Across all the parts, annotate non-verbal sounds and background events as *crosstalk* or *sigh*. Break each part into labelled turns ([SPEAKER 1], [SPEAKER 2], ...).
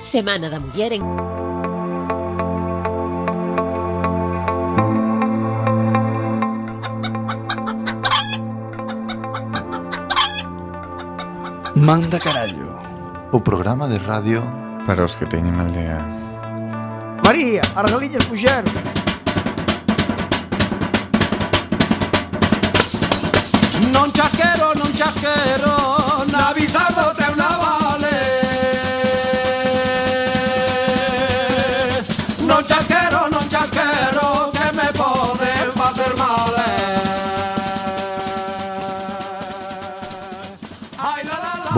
[SPEAKER 1] Semana da Muller en
[SPEAKER 2] Manda carallo
[SPEAKER 3] O programa de radio
[SPEAKER 4] Para os que teñen mal día
[SPEAKER 5] María, as galiñas puxeron
[SPEAKER 6] Non chasquero, non chasquero Na bizardo treu na vale Non chasquero, non chasquero Que me poden facer mal eh. Ai, la, la, la.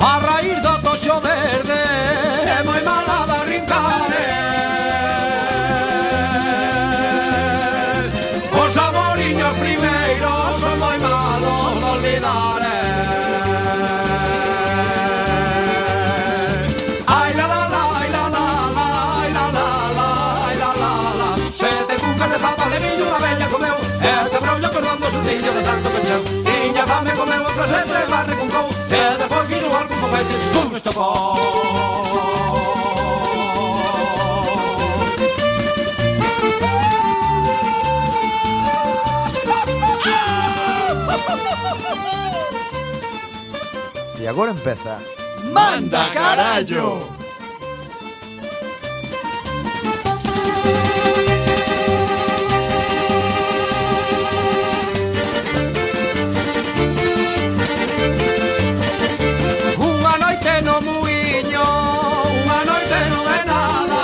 [SPEAKER 6] A raíz do toxo verde É moi mala da rincare Os amoriños primeiros Son moi malos de olvidar eh. Ai la la la, ai la la la Ai la la la, ai la la la Sete cucas de papa de viño Unha bella comeu E te brollo cordón do sustillo de tanto pencheu Tiña fame comeu outra sete Barre con cou E depois fixo algún foguete Pum, estopou
[SPEAKER 2] E agora empeza
[SPEAKER 6] Manda carallo. Unha noite no muiño, unha noite non é nada.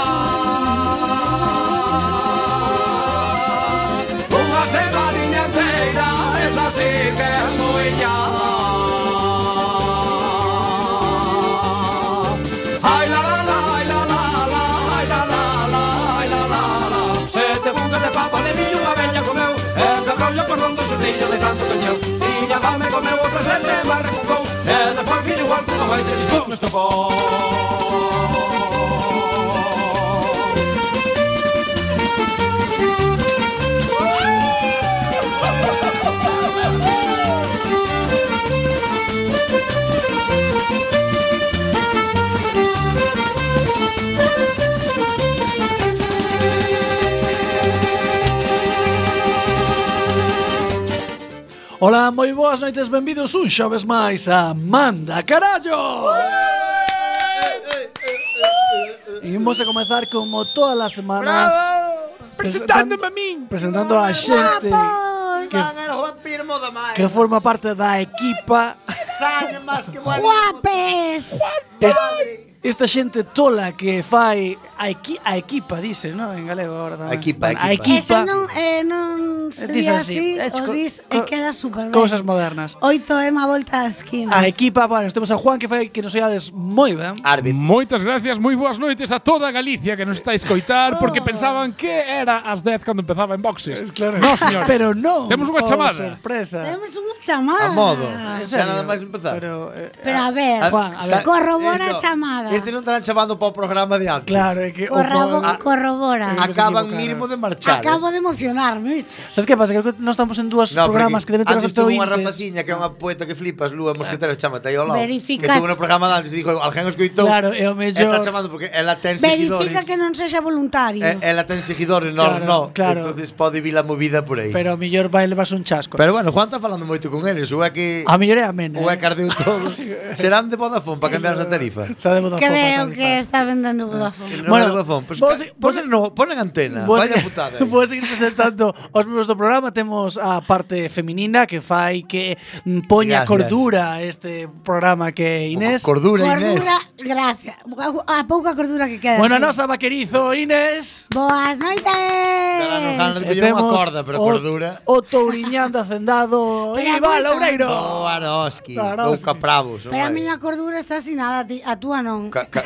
[SPEAKER 6] Unha semaninha inteira, esa sí que é muiñada. Ai la la la, ai la la la, ai la la la, ai la la la. Sete bucas de papa de millo unha bella comeu, e que rollo cordón do xurrillo de tanto cancheu. Tiña fame comeu outra sete, mas recucou, e despois fixo igual como vai ter xipón estopou.
[SPEAKER 2] Ola, moi boas noites, benvidos un xoves máis a Manda Carallo Imos a comezar como todas as semanas Presentándome a min Presentando a xente que, que forma parte da equipa
[SPEAKER 1] Guapes.
[SPEAKER 2] Esta xente tola que fai a, equi a equipa, dice, non? En galego agora tamén.
[SPEAKER 3] A equipa, a
[SPEAKER 2] a
[SPEAKER 3] equipa.
[SPEAKER 2] equipa.
[SPEAKER 7] Esa non, eh, non se
[SPEAKER 2] Dis
[SPEAKER 7] di
[SPEAKER 2] así,
[SPEAKER 7] así,
[SPEAKER 2] eh,
[SPEAKER 7] o
[SPEAKER 2] co-
[SPEAKER 7] dis e
[SPEAKER 2] co-
[SPEAKER 7] queda super ben.
[SPEAKER 2] Cousas modernas.
[SPEAKER 7] Oito é má volta á esquina.
[SPEAKER 2] A equipa, bueno, temos a Juan que fai que nos oiades moi ben.
[SPEAKER 3] Árbitro
[SPEAKER 8] Moitas gracias, moi boas noites a toda Galicia que nos está a escoitar porque pensaban que era as 10 cando empezaba en boxes. Claro. No, señor.
[SPEAKER 2] Pero non.
[SPEAKER 8] Temos
[SPEAKER 2] oh,
[SPEAKER 8] unha chamada.
[SPEAKER 2] sorpresa.
[SPEAKER 7] Temos unha
[SPEAKER 3] A
[SPEAKER 7] chamada.
[SPEAKER 3] modo
[SPEAKER 2] Ah, En
[SPEAKER 3] Xa
[SPEAKER 2] serio.
[SPEAKER 3] nada máis empezar
[SPEAKER 2] Pero, eh,
[SPEAKER 7] Pero a ver,
[SPEAKER 3] A-
[SPEAKER 2] Juan, a ver.
[SPEAKER 3] Ca-
[SPEAKER 7] corrobora a
[SPEAKER 3] Esto-
[SPEAKER 7] chamada.
[SPEAKER 3] Eh, Este non estarán chamando para o programa de antes
[SPEAKER 2] claro, é que o
[SPEAKER 7] Corrabo,
[SPEAKER 2] co- Eh,
[SPEAKER 7] corrobora.
[SPEAKER 2] Ah, que se
[SPEAKER 3] Acaban
[SPEAKER 2] equivocaron.
[SPEAKER 3] mínimo de marchar eh.
[SPEAKER 7] Acabo de emocionarme, biches.
[SPEAKER 2] Sabes que pasa? Que non estamos en dúas
[SPEAKER 3] No,
[SPEAKER 2] programas que deben
[SPEAKER 3] porque
[SPEAKER 2] ter os
[SPEAKER 3] antes tuvo unha
[SPEAKER 2] ointes.
[SPEAKER 3] rapaciña que é unha poeta que flipas, Lúa Mosquetera, chamate aí ao lado.
[SPEAKER 7] Verificad.
[SPEAKER 3] Que tuvo no programa de antes e dixo, alguén o escoitou.
[SPEAKER 2] Claro, é o mellor.
[SPEAKER 3] Está chamando porque ela ten seguidores.
[SPEAKER 7] Verifica que non sexa voluntario.
[SPEAKER 2] Eh,
[SPEAKER 3] E- Ela ten seguidores, nós
[SPEAKER 2] Claro,
[SPEAKER 3] non.
[SPEAKER 2] claro.
[SPEAKER 3] Entonces pode vir a movida por aí.
[SPEAKER 2] Pero o mellor vai levarse un chasco.
[SPEAKER 3] Pero bueno, Juan está falando moito con eles, ou é que
[SPEAKER 2] a mellor é amena.
[SPEAKER 3] ou
[SPEAKER 2] eh. *laughs*
[SPEAKER 3] é cardeu todo. Serán de Vodafone para cambiar a tarifa.
[SPEAKER 2] Xa de Vodafone. Eh,
[SPEAKER 7] creo que está vendendo Vodafone.
[SPEAKER 3] No bueno, Vodafone. Pues
[SPEAKER 2] vos-
[SPEAKER 3] ca-
[SPEAKER 2] vos-
[SPEAKER 3] ponen, no, ponen antena.
[SPEAKER 2] Vou
[SPEAKER 3] Vaya
[SPEAKER 2] seguir-
[SPEAKER 3] putada.
[SPEAKER 2] *laughs* vou seguir presentando os membros do programa. Temos a parte feminina que fai que mm, poña
[SPEAKER 3] Gracias.
[SPEAKER 2] cordura a este programa que é Inés.
[SPEAKER 3] Cordura, Inés.
[SPEAKER 7] Cordura, gracias. A, a pouca cordura que queda.
[SPEAKER 2] Bueno, a
[SPEAKER 7] sí.
[SPEAKER 2] nosa vaquerizo, Inés.
[SPEAKER 7] Boas noites.
[SPEAKER 3] Darán ganas de coller unha corda, pero
[SPEAKER 2] o,
[SPEAKER 3] cordura.
[SPEAKER 2] o touriñán de
[SPEAKER 3] *laughs*
[SPEAKER 2] Hacendado,
[SPEAKER 7] Pero
[SPEAKER 2] Iba
[SPEAKER 7] aguanta.
[SPEAKER 2] Loureiro.
[SPEAKER 3] Boa Oh, Aroski.
[SPEAKER 2] Aroski.
[SPEAKER 3] Ou Capravos.
[SPEAKER 7] Pero a miña cordura está asinada, ti- a túa non.
[SPEAKER 3] Ca,
[SPEAKER 7] *laughs*
[SPEAKER 3] ca,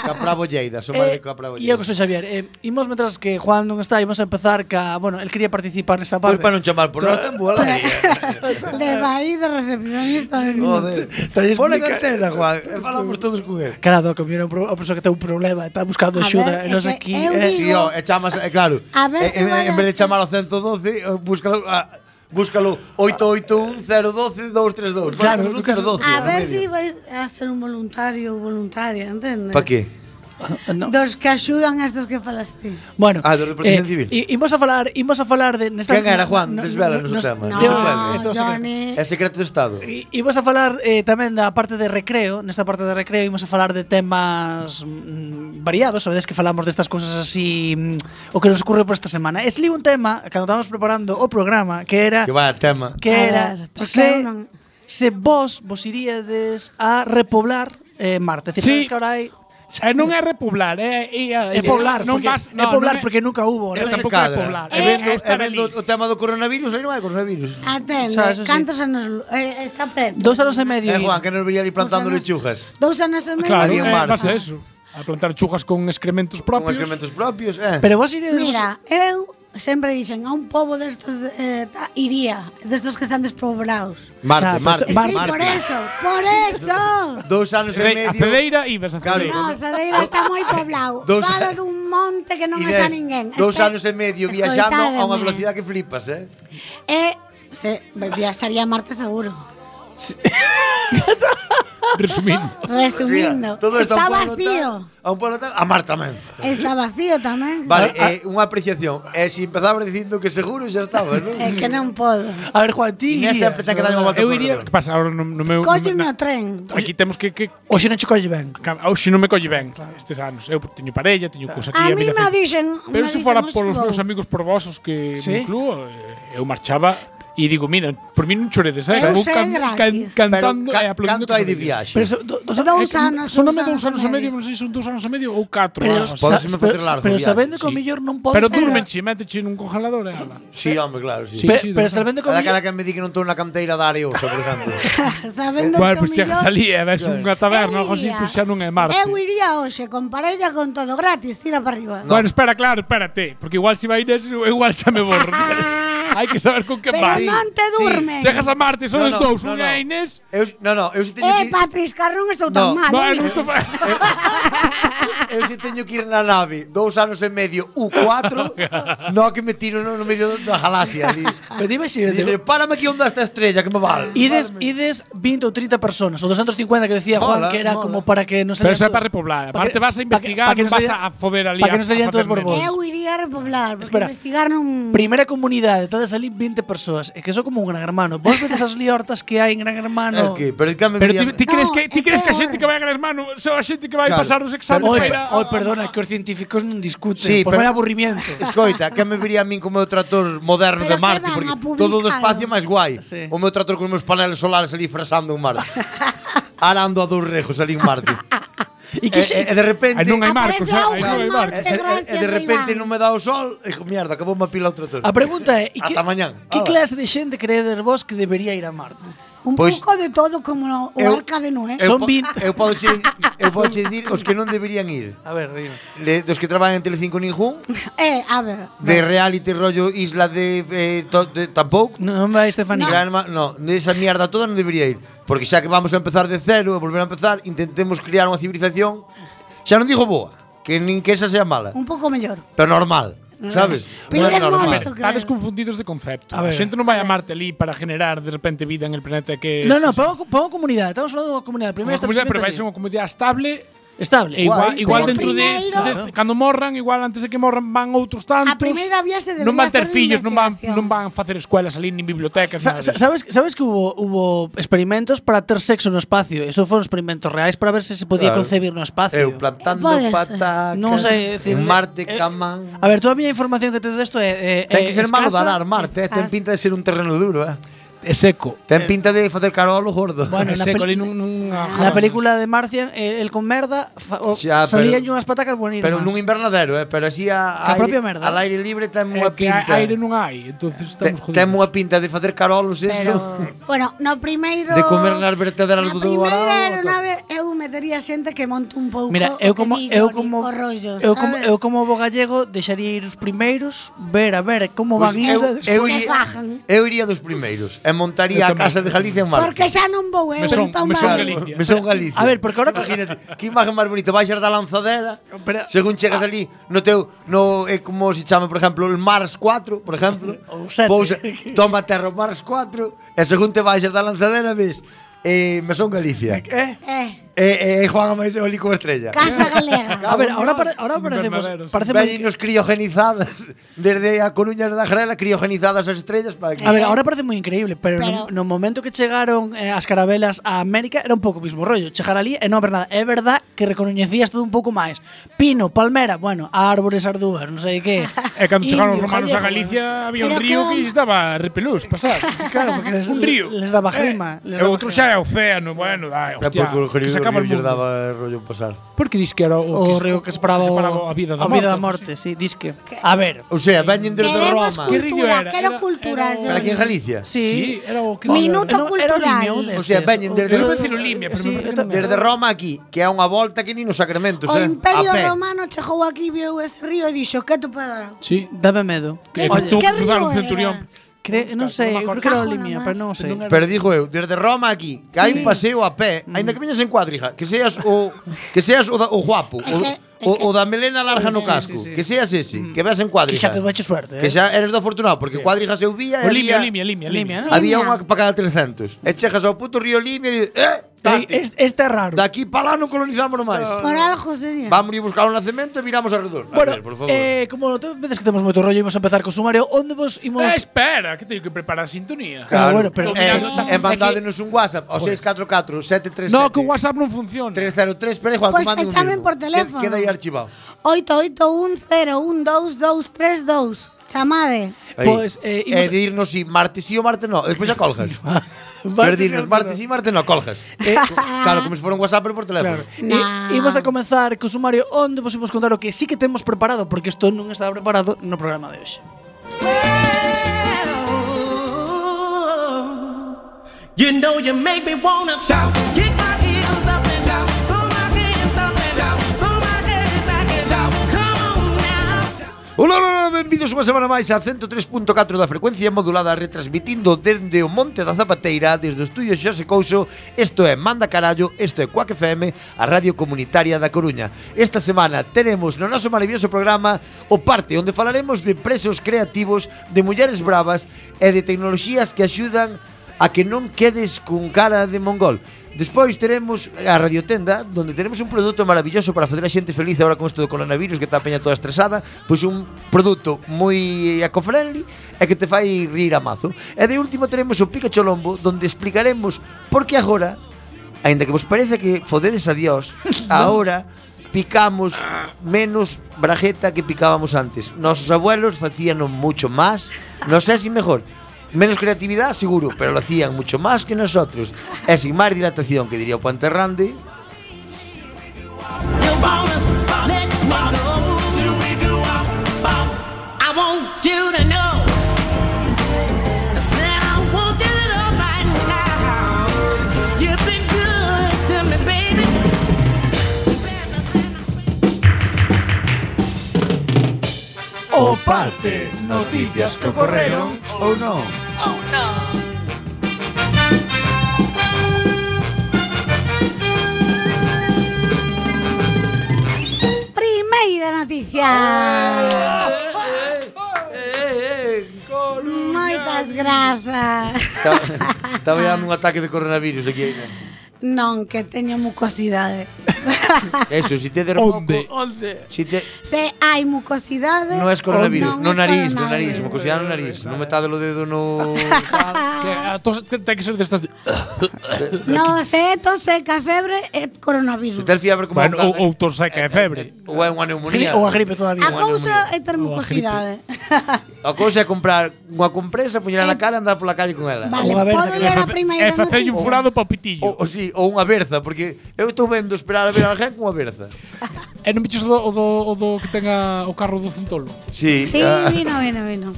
[SPEAKER 3] capravo Lleida, son máis de
[SPEAKER 2] Eh,
[SPEAKER 3] Capravo
[SPEAKER 2] e eu
[SPEAKER 3] Lleida.
[SPEAKER 2] que sou Xavier eh, Imos metras que Juan non está Imos a empezar ca... Bueno, el quería participar nesta
[SPEAKER 3] Pois
[SPEAKER 2] parte
[SPEAKER 3] para non chamar por nós, tan
[SPEAKER 2] *laughs*
[SPEAKER 3] boa la
[SPEAKER 7] Leva aí de recepcionista de minuto.
[SPEAKER 3] Joder. Ponen antena, Juan. e Falamos todos con él.
[SPEAKER 2] Claro, que mira, a persoa que ten un problema Está buscando
[SPEAKER 7] A
[SPEAKER 2] axuda
[SPEAKER 7] ver,
[SPEAKER 2] E nos
[SPEAKER 7] é que
[SPEAKER 2] aquí
[SPEAKER 7] eu
[SPEAKER 2] eh,
[SPEAKER 7] digo-
[SPEAKER 3] Sí, ó, e chamas, é claro.
[SPEAKER 7] A ver
[SPEAKER 3] e-
[SPEAKER 7] se
[SPEAKER 3] en,
[SPEAKER 7] vai
[SPEAKER 3] en vez de
[SPEAKER 7] así.
[SPEAKER 3] chamar ao 112, ó, búscalo, a, búscalo 881-012-232.
[SPEAKER 2] Claro,
[SPEAKER 3] Búscanos un
[SPEAKER 2] nunca se-
[SPEAKER 3] 012.
[SPEAKER 7] A ver si vais a ser un voluntario ou voluntaria, entendes?
[SPEAKER 3] Pa que?
[SPEAKER 2] eh, no.
[SPEAKER 7] Dos que axudan a estos que falas ti.
[SPEAKER 2] Bueno, eh,
[SPEAKER 3] Ah, do de Protección Civil.
[SPEAKER 2] i- Imos a falar, imos a falar de nesta
[SPEAKER 3] Quen era, Juan? Desvélanos o
[SPEAKER 2] nos-
[SPEAKER 3] tema.
[SPEAKER 7] No,
[SPEAKER 3] Dios,
[SPEAKER 2] Deu-
[SPEAKER 3] vale,
[SPEAKER 2] entonces-
[SPEAKER 7] Johnny.
[SPEAKER 3] É secreto de Estado.
[SPEAKER 2] I- Imos a falar eh, tamén da parte de recreo Nesta parte de recreo imos a falar de temas mm, variados Sabedes que falamos destas cousas así mm, O que nos ocurre por esta semana Esli un tema, cando estábamos preparando o programa Que era
[SPEAKER 3] Que vai a tema.
[SPEAKER 2] que
[SPEAKER 7] A
[SPEAKER 2] era
[SPEAKER 7] ver, porque eu
[SPEAKER 2] se,
[SPEAKER 7] non-
[SPEAKER 2] se vos vos iríades a repoblar eh, Marte. Decir,
[SPEAKER 8] Sí.
[SPEAKER 2] sabes que ahora hai
[SPEAKER 8] Eh, non é repoblar, é, é,
[SPEAKER 2] é
[SPEAKER 8] é,
[SPEAKER 2] poblar,
[SPEAKER 8] non
[SPEAKER 2] porque,
[SPEAKER 8] vas,
[SPEAKER 2] é
[SPEAKER 8] no,
[SPEAKER 2] poblar
[SPEAKER 8] non é-
[SPEAKER 2] porque nunca hubo.
[SPEAKER 8] Eu
[SPEAKER 2] ¿no?
[SPEAKER 8] tampouco é
[SPEAKER 3] cadra.
[SPEAKER 8] poblar.
[SPEAKER 3] E
[SPEAKER 7] Eh,
[SPEAKER 3] vendo, e
[SPEAKER 8] É estar
[SPEAKER 3] vendo
[SPEAKER 8] ali.
[SPEAKER 3] o tema do coronavirus, aí non hai coronavirus.
[SPEAKER 7] Ah, Atende,
[SPEAKER 2] Xa, eso sí.
[SPEAKER 7] cantos anos lu- eh, está preto?
[SPEAKER 2] Dos anos e medio.
[SPEAKER 3] É, Eh, Juan, que nos veía ali plantando
[SPEAKER 7] Dos anos-
[SPEAKER 3] lechugas.
[SPEAKER 7] Dous anos e medio.
[SPEAKER 8] Claro,
[SPEAKER 3] Había un
[SPEAKER 8] eh,
[SPEAKER 3] barco.
[SPEAKER 8] vas a eso. A plantar chujas con excrementos
[SPEAKER 3] Con
[SPEAKER 8] propios.
[SPEAKER 3] excrementos propios, eh.
[SPEAKER 2] Pero vos iríades
[SPEAKER 7] Mira, eu sempre dixen a un pobo destos eh, ta- iría, destos que están despoblados.
[SPEAKER 2] Xa,
[SPEAKER 3] Marte,
[SPEAKER 2] pues,
[SPEAKER 3] Marte,
[SPEAKER 7] Eh,
[SPEAKER 2] Mar-
[SPEAKER 7] sí,
[SPEAKER 3] Marte.
[SPEAKER 7] por eso, por eso.
[SPEAKER 3] Dous anos e
[SPEAKER 8] Cede- A
[SPEAKER 3] medio.
[SPEAKER 8] Cedeira ibas a
[SPEAKER 3] Claro.
[SPEAKER 8] Cedeira.
[SPEAKER 7] No, Cedeira está moi poblado.
[SPEAKER 3] *laughs* Dos-
[SPEAKER 7] Falo dun monte que non
[SPEAKER 3] Inés,
[SPEAKER 7] é xa ninguén.
[SPEAKER 3] Dous
[SPEAKER 7] Espe-
[SPEAKER 3] anos e medio viaxando a unha
[SPEAKER 7] Escoitádeme.
[SPEAKER 3] velocidade que flipas, eh?
[SPEAKER 7] E se viaxaría a Marte seguro.
[SPEAKER 8] Resumindo.
[SPEAKER 7] Resumindo,
[SPEAKER 3] Todo isto a
[SPEAKER 7] está
[SPEAKER 3] un pueblo
[SPEAKER 7] vacío.
[SPEAKER 3] tal, A un pueblo tal, a Marte tamén.
[SPEAKER 7] Está vacío tamén.
[SPEAKER 3] Vale, eh, unha apreciación. E eh, se empezabas dicindo que seguro xa estaba,
[SPEAKER 7] *laughs*
[SPEAKER 3] non?
[SPEAKER 7] É que non podo.
[SPEAKER 2] a ver Juan ti
[SPEAKER 3] Inés sempre ten que dar unha volta
[SPEAKER 8] Eu
[SPEAKER 3] por
[SPEAKER 8] iría,
[SPEAKER 3] redor.
[SPEAKER 8] que pasa ahora no, no meu...
[SPEAKER 7] Cólleme o
[SPEAKER 8] no,
[SPEAKER 7] tren.
[SPEAKER 8] aquí temos que, que
[SPEAKER 2] Oxe non che colle ben.
[SPEAKER 8] Cam- Hoxe non me colle ben claro. estes anos. Eu teño parella, teño
[SPEAKER 7] A
[SPEAKER 8] cousa aquí,
[SPEAKER 7] mí
[SPEAKER 8] vida
[SPEAKER 7] me
[SPEAKER 8] feliz.
[SPEAKER 7] dixen...
[SPEAKER 8] Pero
[SPEAKER 7] me
[SPEAKER 8] se
[SPEAKER 7] dixen,
[SPEAKER 8] fora
[SPEAKER 7] "Oxe,
[SPEAKER 8] polos
[SPEAKER 7] vou".
[SPEAKER 8] meus amigos porvosos que
[SPEAKER 2] Sí.
[SPEAKER 8] sí? me incluo, eh, eu marchaba e digo, mira, por mí non choredes, eh?
[SPEAKER 7] Eu
[SPEAKER 8] vou
[SPEAKER 7] sei gratis.
[SPEAKER 8] cantando e
[SPEAKER 3] ca-
[SPEAKER 8] aplaudindo.
[SPEAKER 3] canto hai de viaxe?
[SPEAKER 2] Pero so- do- dos
[SPEAKER 7] Dous
[SPEAKER 2] eh,
[SPEAKER 7] anos,
[SPEAKER 8] Sonome dous anos e medio, non sei se son dous anos e medio ou catro.
[SPEAKER 2] Pero,
[SPEAKER 8] anos.
[SPEAKER 3] Podes
[SPEAKER 2] sa-
[SPEAKER 3] irme
[SPEAKER 2] pero,
[SPEAKER 3] facer largo
[SPEAKER 2] pero
[SPEAKER 3] viaje,
[SPEAKER 2] sabendo que o
[SPEAKER 8] sí.
[SPEAKER 2] millor non podes
[SPEAKER 8] Pero
[SPEAKER 2] facer-
[SPEAKER 8] durmenche, méteche nun congelador e ala.
[SPEAKER 3] Sí, home, claro, sí.
[SPEAKER 8] Sí.
[SPEAKER 2] Pe-
[SPEAKER 8] dous
[SPEAKER 2] Pero
[SPEAKER 8] anos.
[SPEAKER 2] sabendo que o
[SPEAKER 3] Cada
[SPEAKER 2] millor
[SPEAKER 3] cara que me di que non estou na canteira da Areosa, por exemplo.
[SPEAKER 7] *laughs* Sabendo
[SPEAKER 8] Bueno,
[SPEAKER 7] que o
[SPEAKER 8] pois chega
[SPEAKER 7] millor-
[SPEAKER 8] salí e ves unha taberna,
[SPEAKER 7] Eu
[SPEAKER 8] algo así, pues
[SPEAKER 7] iría.
[SPEAKER 8] pois xa non é Marte.
[SPEAKER 7] Eu iría hoxe con parella con todo gratis, tira para arriba.
[SPEAKER 8] Bueno, espera, claro, espérate, porque igual se vai Inés, eu igual xa me borro. Hai que saber con que
[SPEAKER 7] Pero
[SPEAKER 8] vas.
[SPEAKER 7] non te
[SPEAKER 3] Sí,
[SPEAKER 7] durmen.
[SPEAKER 8] Chegas a Marte, son
[SPEAKER 3] No,
[SPEAKER 8] os
[SPEAKER 3] no,
[SPEAKER 8] dous,
[SPEAKER 3] no, no.
[SPEAKER 8] unha é Inés.
[SPEAKER 3] Eu, no, no, eu si teño
[SPEAKER 7] eh,
[SPEAKER 3] que...
[SPEAKER 7] Patris Carrón, estou tan
[SPEAKER 3] No.
[SPEAKER 7] mal.
[SPEAKER 8] No,
[SPEAKER 7] eh.
[SPEAKER 8] e eu non estou fa-
[SPEAKER 3] Eu se teño que ir na nave dous anos e medio U4 No que me tiro no, no medio da galaxia ali.
[SPEAKER 2] Pero ti
[SPEAKER 3] E dile,
[SPEAKER 2] imagínate
[SPEAKER 3] párame aquí onde está esta estrella que me vale
[SPEAKER 2] Ides, ides 20 ou 30 personas, ou 250 que decía Juan
[SPEAKER 3] Mola,
[SPEAKER 2] que era
[SPEAKER 3] mola.
[SPEAKER 2] como para que non salieran
[SPEAKER 8] Pero eso é
[SPEAKER 2] todos-
[SPEAKER 8] para repoblar.
[SPEAKER 2] pa que-
[SPEAKER 8] Aparte
[SPEAKER 2] pa
[SPEAKER 8] vas a
[SPEAKER 2] que-
[SPEAKER 8] investigar,
[SPEAKER 2] pa que non
[SPEAKER 8] vas
[SPEAKER 2] salía-
[SPEAKER 8] a foder ali.
[SPEAKER 2] pa que
[SPEAKER 8] a-
[SPEAKER 2] non salían
[SPEAKER 8] a
[SPEAKER 2] todos
[SPEAKER 8] facer
[SPEAKER 2] borbosos.
[SPEAKER 8] menos.
[SPEAKER 7] Eu iría a repoblar, porque
[SPEAKER 2] Espera.
[SPEAKER 7] investigar non...
[SPEAKER 2] Primeira comunidade, está de salir 20 persoas. É que eso como un gran hermano. Vos vedes as liortas que hai en gran hermano.
[SPEAKER 3] É que, pero é que me
[SPEAKER 8] Pero ti,
[SPEAKER 3] vería-
[SPEAKER 8] ti
[SPEAKER 7] No,
[SPEAKER 8] crees que ti
[SPEAKER 7] é
[SPEAKER 8] crees que a
[SPEAKER 7] peor.
[SPEAKER 8] xente que vai a Gran Hermano son a xente que vai
[SPEAKER 3] Claro.
[SPEAKER 8] pasar os exames
[SPEAKER 2] Oi,
[SPEAKER 8] para ir
[SPEAKER 2] per-
[SPEAKER 8] a-
[SPEAKER 2] oi, perdona, que os científicos non discuten.
[SPEAKER 3] Sí,
[SPEAKER 2] por pero...
[SPEAKER 3] pero- *laughs*
[SPEAKER 2] aburrimiento.
[SPEAKER 3] Escoita, que me vería a min como o trator moderno de
[SPEAKER 7] Pero
[SPEAKER 3] Marte,
[SPEAKER 7] que
[SPEAKER 3] porque
[SPEAKER 7] van a publicalo.
[SPEAKER 3] todo o espacio é máis guai.
[SPEAKER 2] Sí.
[SPEAKER 3] O meu trator con os meus paneles solares ali frasando en
[SPEAKER 7] *laughs*
[SPEAKER 3] Marte. Arando a dous rejos ali en Marte.
[SPEAKER 2] E
[SPEAKER 3] e,
[SPEAKER 2] que
[SPEAKER 3] e, e de repente...
[SPEAKER 8] Aí non hai
[SPEAKER 7] Aparece
[SPEAKER 8] Marcos, ah, aí
[SPEAKER 7] auga
[SPEAKER 8] non hai
[SPEAKER 7] en
[SPEAKER 3] E,
[SPEAKER 8] Marcos.
[SPEAKER 3] e-
[SPEAKER 7] Marte,
[SPEAKER 3] e de
[SPEAKER 7] gracias,
[SPEAKER 3] repente
[SPEAKER 7] Iván.
[SPEAKER 3] non me dá o sol, e digo, mierda, acabou me pila o trator.
[SPEAKER 2] A pregunta é, e que,
[SPEAKER 3] Ata mañán.
[SPEAKER 2] que
[SPEAKER 3] Ala.
[SPEAKER 2] clase de xente creedes vos que debería ir a Marte?
[SPEAKER 7] Un
[SPEAKER 3] Pois-
[SPEAKER 7] pouco de todo como no- o
[SPEAKER 3] Eu-
[SPEAKER 7] arca de Noé.
[SPEAKER 2] eu- Son
[SPEAKER 3] po-
[SPEAKER 2] 20.
[SPEAKER 3] Eu
[SPEAKER 2] *laughs*
[SPEAKER 3] podo che, eu podo che dir os que non deberían ir.
[SPEAKER 2] A ver, dime.
[SPEAKER 3] De, dos que traballan en Telecinco ningún,
[SPEAKER 7] Eh, a ver.
[SPEAKER 3] de reality rollo Isla de, eh, to, de tampouco.
[SPEAKER 2] Non non vai Estefanía.
[SPEAKER 3] Gran Herma- no, de esa mierda toda non debería ir. Porque xa que vamos a empezar de cero e volver a empezar, intentemos criar unha civilización, xa non digo boa, que nin que esa sea mala,
[SPEAKER 7] Un pouco mellor.
[SPEAKER 3] pero normal, sabes?
[SPEAKER 7] Pides
[SPEAKER 3] Bueno,
[SPEAKER 7] moito.
[SPEAKER 3] normal.
[SPEAKER 7] creo.
[SPEAKER 8] Estades confundidos de concepto.
[SPEAKER 2] A
[SPEAKER 8] A,
[SPEAKER 2] ver.
[SPEAKER 8] xente non vai a Marte ali para generar de repente vida en el planeta que
[SPEAKER 2] No, no, para unha, para unha comunidade. Estamos falando dunha comunidade. Primeiro
[SPEAKER 8] Unha comunidade, pero vai ser
[SPEAKER 2] establecemento
[SPEAKER 8] unha comunidade estable
[SPEAKER 2] ali. Estable.
[SPEAKER 8] E igual,
[SPEAKER 3] Guai,
[SPEAKER 8] igual
[SPEAKER 7] pero
[SPEAKER 8] dentro de,
[SPEAKER 7] primeiro-
[SPEAKER 8] de cando morran, igual antes de que morran van outros
[SPEAKER 7] A
[SPEAKER 8] tantos.
[SPEAKER 7] primeira viaxe debería
[SPEAKER 8] non van ter
[SPEAKER 7] ser de
[SPEAKER 8] fillos, non van
[SPEAKER 7] investigación.
[SPEAKER 8] non van facer escuelas ali nin bibliotecas,
[SPEAKER 2] Sa-
[SPEAKER 8] nada.
[SPEAKER 2] sa-
[SPEAKER 8] diso.
[SPEAKER 2] sabes, sabes que hubo, hubo experimentos para ter sexo no espacio. Estos foron experimentos reais para ver se se podía
[SPEAKER 3] Claro. Eh,
[SPEAKER 2] concebir no espacio.
[SPEAKER 3] Eu plantando
[SPEAKER 7] Pode ser.
[SPEAKER 3] patacas.
[SPEAKER 2] Non sei, decir,
[SPEAKER 3] en Marte,
[SPEAKER 2] eh,
[SPEAKER 3] cama.
[SPEAKER 2] A ver, toda a miña información que te de isto é eh, eh,
[SPEAKER 3] Ten que ser malo de
[SPEAKER 2] escasa.
[SPEAKER 3] alar, Marte. eh, Ten
[SPEAKER 7] escasa.
[SPEAKER 3] pinta de ser un terreno duro, eh.
[SPEAKER 8] É seco.
[SPEAKER 3] Ten pinta de facer caro a lo gordo. *laughs*
[SPEAKER 2] Bueno,
[SPEAKER 8] é
[SPEAKER 2] na
[SPEAKER 8] seco
[SPEAKER 2] peli-
[SPEAKER 8] ali nun, nun
[SPEAKER 2] Na Ah, película de Martian, eh, el con merda, fa- o-
[SPEAKER 3] Xa, pero-
[SPEAKER 2] salían unhas patacas buenísimas.
[SPEAKER 3] Pero nun invernadero, eh, pero así a,
[SPEAKER 2] Que a propia merda. Eh,
[SPEAKER 3] al aire libre ten
[SPEAKER 8] é
[SPEAKER 3] unha
[SPEAKER 8] que
[SPEAKER 3] pinta.
[SPEAKER 8] aire non hai, entonces
[SPEAKER 3] Te-
[SPEAKER 8] estamos jodidos.
[SPEAKER 3] ten unha pinta de facer carolos isto.
[SPEAKER 7] Pero, bueno, no primeiro...
[SPEAKER 3] De comer nas vertederas
[SPEAKER 7] na
[SPEAKER 3] do
[SPEAKER 7] primeira
[SPEAKER 3] Dourado,
[SPEAKER 7] aeronave eu metería xente que monte un pouco
[SPEAKER 2] Mira,
[SPEAKER 7] o
[SPEAKER 2] eu
[SPEAKER 7] que
[SPEAKER 2] como
[SPEAKER 7] di
[SPEAKER 2] eu
[SPEAKER 7] Johnny,
[SPEAKER 2] como
[SPEAKER 7] os rollos,
[SPEAKER 2] eu como
[SPEAKER 7] sabes?
[SPEAKER 2] eu como bo gallego deixaría ir os primeiros, ver a ver como
[SPEAKER 3] Pois
[SPEAKER 2] van indo.
[SPEAKER 3] Pues
[SPEAKER 2] e
[SPEAKER 3] eu, eu,
[SPEAKER 7] despois
[SPEAKER 3] iría,
[SPEAKER 7] bajan.
[SPEAKER 3] eu iría dos primeiros e montaría a
[SPEAKER 8] Eu tamén.
[SPEAKER 3] Casa de Galicia en Marte.
[SPEAKER 7] Porque xa non vou eu,
[SPEAKER 8] Me son-
[SPEAKER 7] entón
[SPEAKER 8] me son
[SPEAKER 7] vale.
[SPEAKER 8] Galicia.
[SPEAKER 3] Me son Galicia.
[SPEAKER 2] A ver, porque ahora que-
[SPEAKER 3] imagínate, que imagen máis bonita, vais da lanzadera,
[SPEAKER 2] Pero-
[SPEAKER 3] según chegas ali, no teu, no é como se chama, por exemplo, el Mars 4, por exemplo,
[SPEAKER 2] *laughs* Ou sete.
[SPEAKER 3] toma terra o Mars 4, e según te vais da lanzadera ves eh, me son Galicia.
[SPEAKER 2] Eh,
[SPEAKER 7] Eh,
[SPEAKER 3] Eh, eh, Juan Amáis e Oli como estrella.
[SPEAKER 7] casa
[SPEAKER 3] *laughs*
[SPEAKER 7] galega.
[SPEAKER 2] a ver, ahora pare- ahora
[SPEAKER 8] Un
[SPEAKER 2] parecemos
[SPEAKER 8] invernadero, sí.
[SPEAKER 2] parecemos
[SPEAKER 3] Ven nos criogenizadas desde a Coruña da Grela, criogenizadas as estrellas para aquí.
[SPEAKER 2] A ver, ahora parece moi increíble, pero,
[SPEAKER 7] Pero-
[SPEAKER 2] no, no momento que chegaron eh, as carabelas a América era un pouco o mismo rollo, chegar ali e non haber nada. É verdad que recoñecías todo un pouco máis. Pino, palmera, bueno, árbores, ardúas, non sei que.
[SPEAKER 8] E cando chegaron os
[SPEAKER 2] Indio,
[SPEAKER 8] romanos a
[SPEAKER 2] gallego,
[SPEAKER 8] Galicia había un
[SPEAKER 7] Pero
[SPEAKER 8] río
[SPEAKER 7] con-
[SPEAKER 8] que lles daba repelús pasar.
[SPEAKER 2] *laughs* Claro, porque les-
[SPEAKER 8] un río.
[SPEAKER 2] les daba grima, les
[SPEAKER 8] E
[SPEAKER 2] daba
[SPEAKER 8] outro
[SPEAKER 2] grima.
[SPEAKER 8] xa é océano, bueno, da,
[SPEAKER 3] É
[SPEAKER 8] hostia.
[SPEAKER 3] porque o
[SPEAKER 8] que
[SPEAKER 3] Río
[SPEAKER 8] se acaba
[SPEAKER 3] do
[SPEAKER 8] o
[SPEAKER 3] Río lles
[SPEAKER 8] mundo.
[SPEAKER 3] daba rollo pasar.
[SPEAKER 8] Por que dis que era o,
[SPEAKER 2] O río que separaba o,
[SPEAKER 8] separaba a vida da
[SPEAKER 2] a
[SPEAKER 8] morte?
[SPEAKER 2] vida da morte, sí, disque. A ver,
[SPEAKER 3] O sea, veñen desde
[SPEAKER 7] Queremos
[SPEAKER 3] Roma.
[SPEAKER 8] Que río
[SPEAKER 7] cultura,
[SPEAKER 8] era?
[SPEAKER 7] quero
[SPEAKER 8] Era-
[SPEAKER 7] cultura,
[SPEAKER 8] era o-
[SPEAKER 3] Pero aquí en
[SPEAKER 7] Johnny.
[SPEAKER 3] Galicia.
[SPEAKER 2] Sí.
[SPEAKER 8] Sí, era o que
[SPEAKER 7] Minuto
[SPEAKER 2] Era- era
[SPEAKER 7] cultural.
[SPEAKER 2] o Limio
[SPEAKER 3] O sea,
[SPEAKER 2] destes,
[SPEAKER 3] veñen desde-
[SPEAKER 8] Eu iba a decir o Limia, pero me parece que non.
[SPEAKER 3] Desde Roma aquí, que é unha volta que nin os sacramentos,
[SPEAKER 7] O
[SPEAKER 3] eh,
[SPEAKER 7] Imperio
[SPEAKER 3] a pé.
[SPEAKER 7] Romano chegou aquí, viu ese río e dixo, que te padará?
[SPEAKER 8] Sí.
[SPEAKER 2] Dame medo.
[SPEAKER 8] Que
[SPEAKER 7] Oye,
[SPEAKER 8] tú
[SPEAKER 7] ¿qué
[SPEAKER 8] cruzar
[SPEAKER 7] río
[SPEAKER 8] un
[SPEAKER 7] era?
[SPEAKER 8] centurión.
[SPEAKER 2] Cre non sei, eu creo que
[SPEAKER 8] non me acordo.
[SPEAKER 2] era o
[SPEAKER 7] Cago na
[SPEAKER 2] Limia,
[SPEAKER 7] mar.
[SPEAKER 2] pero non o sei.
[SPEAKER 8] Pero non era-
[SPEAKER 3] Pero digo eu, desde Roma aquí, que hai un paseo a pé, aínda que veñas en cuadriga, que seas o que seas o, da, o guapo, o, o, o da melena larga no casco, que seas ese, que veas en
[SPEAKER 2] Que xa
[SPEAKER 3] cuadriga.
[SPEAKER 2] te bache suerte, eh.
[SPEAKER 3] Que xa eres do afortunado, porque cuadrigas eu vía e
[SPEAKER 8] O Pues limia, o
[SPEAKER 3] había,
[SPEAKER 8] limia, limia,
[SPEAKER 2] Limia,
[SPEAKER 8] limia.
[SPEAKER 2] non?
[SPEAKER 3] había
[SPEAKER 7] Limia.
[SPEAKER 3] unha para cada 300. E chegas ao puto río Limia e dices, eh,
[SPEAKER 2] Ei,
[SPEAKER 3] tate,
[SPEAKER 2] es- Este é raro.
[SPEAKER 3] daqui para lá non colonizámonos máis.
[SPEAKER 8] Ah.
[SPEAKER 7] Por algo sería.
[SPEAKER 3] Vamos ir buscar o nacemento e miramos alrededor. A
[SPEAKER 2] Bueno,
[SPEAKER 3] ver, por favor.
[SPEAKER 2] eh, como todas veces que temos moito rollo, imos a empezar co sumario onde vos imos
[SPEAKER 8] Eh, espera, que teño que preparar a sintonía.
[SPEAKER 7] Ah,
[SPEAKER 2] Claro, bueno, pero-
[SPEAKER 8] Mira,
[SPEAKER 3] eh,
[SPEAKER 8] no,
[SPEAKER 3] eh, mandádenos un WhatsApp ao 644 737
[SPEAKER 8] No, que o WhatsApp non funciona.
[SPEAKER 3] 303, pero igual
[SPEAKER 7] Pois
[SPEAKER 3] te mando un
[SPEAKER 7] pechamen
[SPEAKER 3] mismo.
[SPEAKER 7] por
[SPEAKER 3] Que-
[SPEAKER 7] teléfono.
[SPEAKER 3] Queda aí archivado.
[SPEAKER 7] 881012232. Chamade.
[SPEAKER 3] Aí.
[SPEAKER 2] Pois, eh, imos-
[SPEAKER 3] E dirnos si martes sí ou martes no. Despois xa colgas. pero
[SPEAKER 2] *laughs* Martes
[SPEAKER 3] dirnos
[SPEAKER 2] e
[SPEAKER 3] martes sí, martes no, colgas. claro, como se fora un WhatsApp, pero por teléfono.
[SPEAKER 2] Claro. E imos a comenzar co sumario onde vos imos contar o que sí que temos preparado porque isto non estaba preparado no programa de hoxe.
[SPEAKER 1] You know you make me wanna shout. Kick my heels up and shout. Throw my hands up and shout. Throw my hands back and shout. Come on now.
[SPEAKER 3] Ola, ola, ola, benvidos unha semana máis a 103.4 da frecuencia modulada retransmitindo dende o Monte da Zapateira desde o estudio Xose Couso. Isto é Manda Carallo, isto é Quack FM, a radio comunitaria da Coruña. Esta semana tenemos no noso maravilloso programa o parte onde falaremos de presos creativos, de mulleres bravas e de tecnoloxías que axudan a que non quedes con cara de mongol. Despois teremos a radiotenda Donde teremos un produto maravilloso para facer a xente feliz Agora con isto do coronavirus que está a peña toda estresada Pois un produto moi eco-friendly E que te fai rir a mazo E de último teremos o Pica Cholombo Donde explicaremos por que agora Ainda que vos parece que fodedes a
[SPEAKER 8] *laughs*
[SPEAKER 3] Dios Ahora picamos menos brajeta que picábamos antes Nosos abuelos facíanos mucho más No sé si mejor Menos creatividad, seguro, pero lo hacían mucho más que nosotros E sin máis dilatación, que diría o Panterrande
[SPEAKER 1] You wanna let me know. I want you to know. I said I want you to know right now. You've been good to me, baby. Better than I-
[SPEAKER 3] O parte, noticias que ocorreron ou non
[SPEAKER 7] Primeira noticia. Moitas grazas.
[SPEAKER 3] Estaba dando un ataque de coronavirus aquí
[SPEAKER 7] Non, que teño mucosidade.
[SPEAKER 3] Eso, si te der moco,
[SPEAKER 8] Onde?
[SPEAKER 3] si te
[SPEAKER 7] Se hai mucosidade...
[SPEAKER 3] no
[SPEAKER 2] Oh,
[SPEAKER 3] es coronavirus,
[SPEAKER 7] non
[SPEAKER 3] no
[SPEAKER 7] é
[SPEAKER 3] nariz, no
[SPEAKER 7] coronavirus.
[SPEAKER 3] nariz, mucosidade no nariz, non metade o
[SPEAKER 2] *laughs*
[SPEAKER 3] dedo no
[SPEAKER 8] Que a tos te- ten que ser destas... De...
[SPEAKER 7] No, se é tos seca febre é
[SPEAKER 3] Si
[SPEAKER 7] coronavirus.
[SPEAKER 3] tes fiebre como
[SPEAKER 8] Bueno,
[SPEAKER 3] un
[SPEAKER 8] ou,
[SPEAKER 3] cadáver,
[SPEAKER 8] ou tos seca
[SPEAKER 3] eh,
[SPEAKER 8] e febre.
[SPEAKER 3] ou é unha neumonía.
[SPEAKER 2] Ou a gripe todavía.
[SPEAKER 7] A
[SPEAKER 3] Bueno,
[SPEAKER 7] cousa
[SPEAKER 3] mira.
[SPEAKER 7] é ter mucosidade. *laughs*
[SPEAKER 3] A cousa é comprar unha compresa, poñela na cara e andar pola calle con ela.
[SPEAKER 7] Vale,
[SPEAKER 2] Ou a ver,
[SPEAKER 7] podo
[SPEAKER 2] que
[SPEAKER 7] ler
[SPEAKER 3] Eh,
[SPEAKER 7] a
[SPEAKER 8] E
[SPEAKER 7] primeira
[SPEAKER 8] facerlle un
[SPEAKER 7] noticia.
[SPEAKER 8] furado pa pitillo.
[SPEAKER 3] Ou, ou, sí, ou unha berza, porque eu estou vendo esperar a ver a alguén cunha berza.
[SPEAKER 8] E non bichos o do, o do, o do que tenga o carro do Zuntolo.
[SPEAKER 3] Sí,
[SPEAKER 7] Sí,
[SPEAKER 3] ah,
[SPEAKER 7] vino, vino, vino.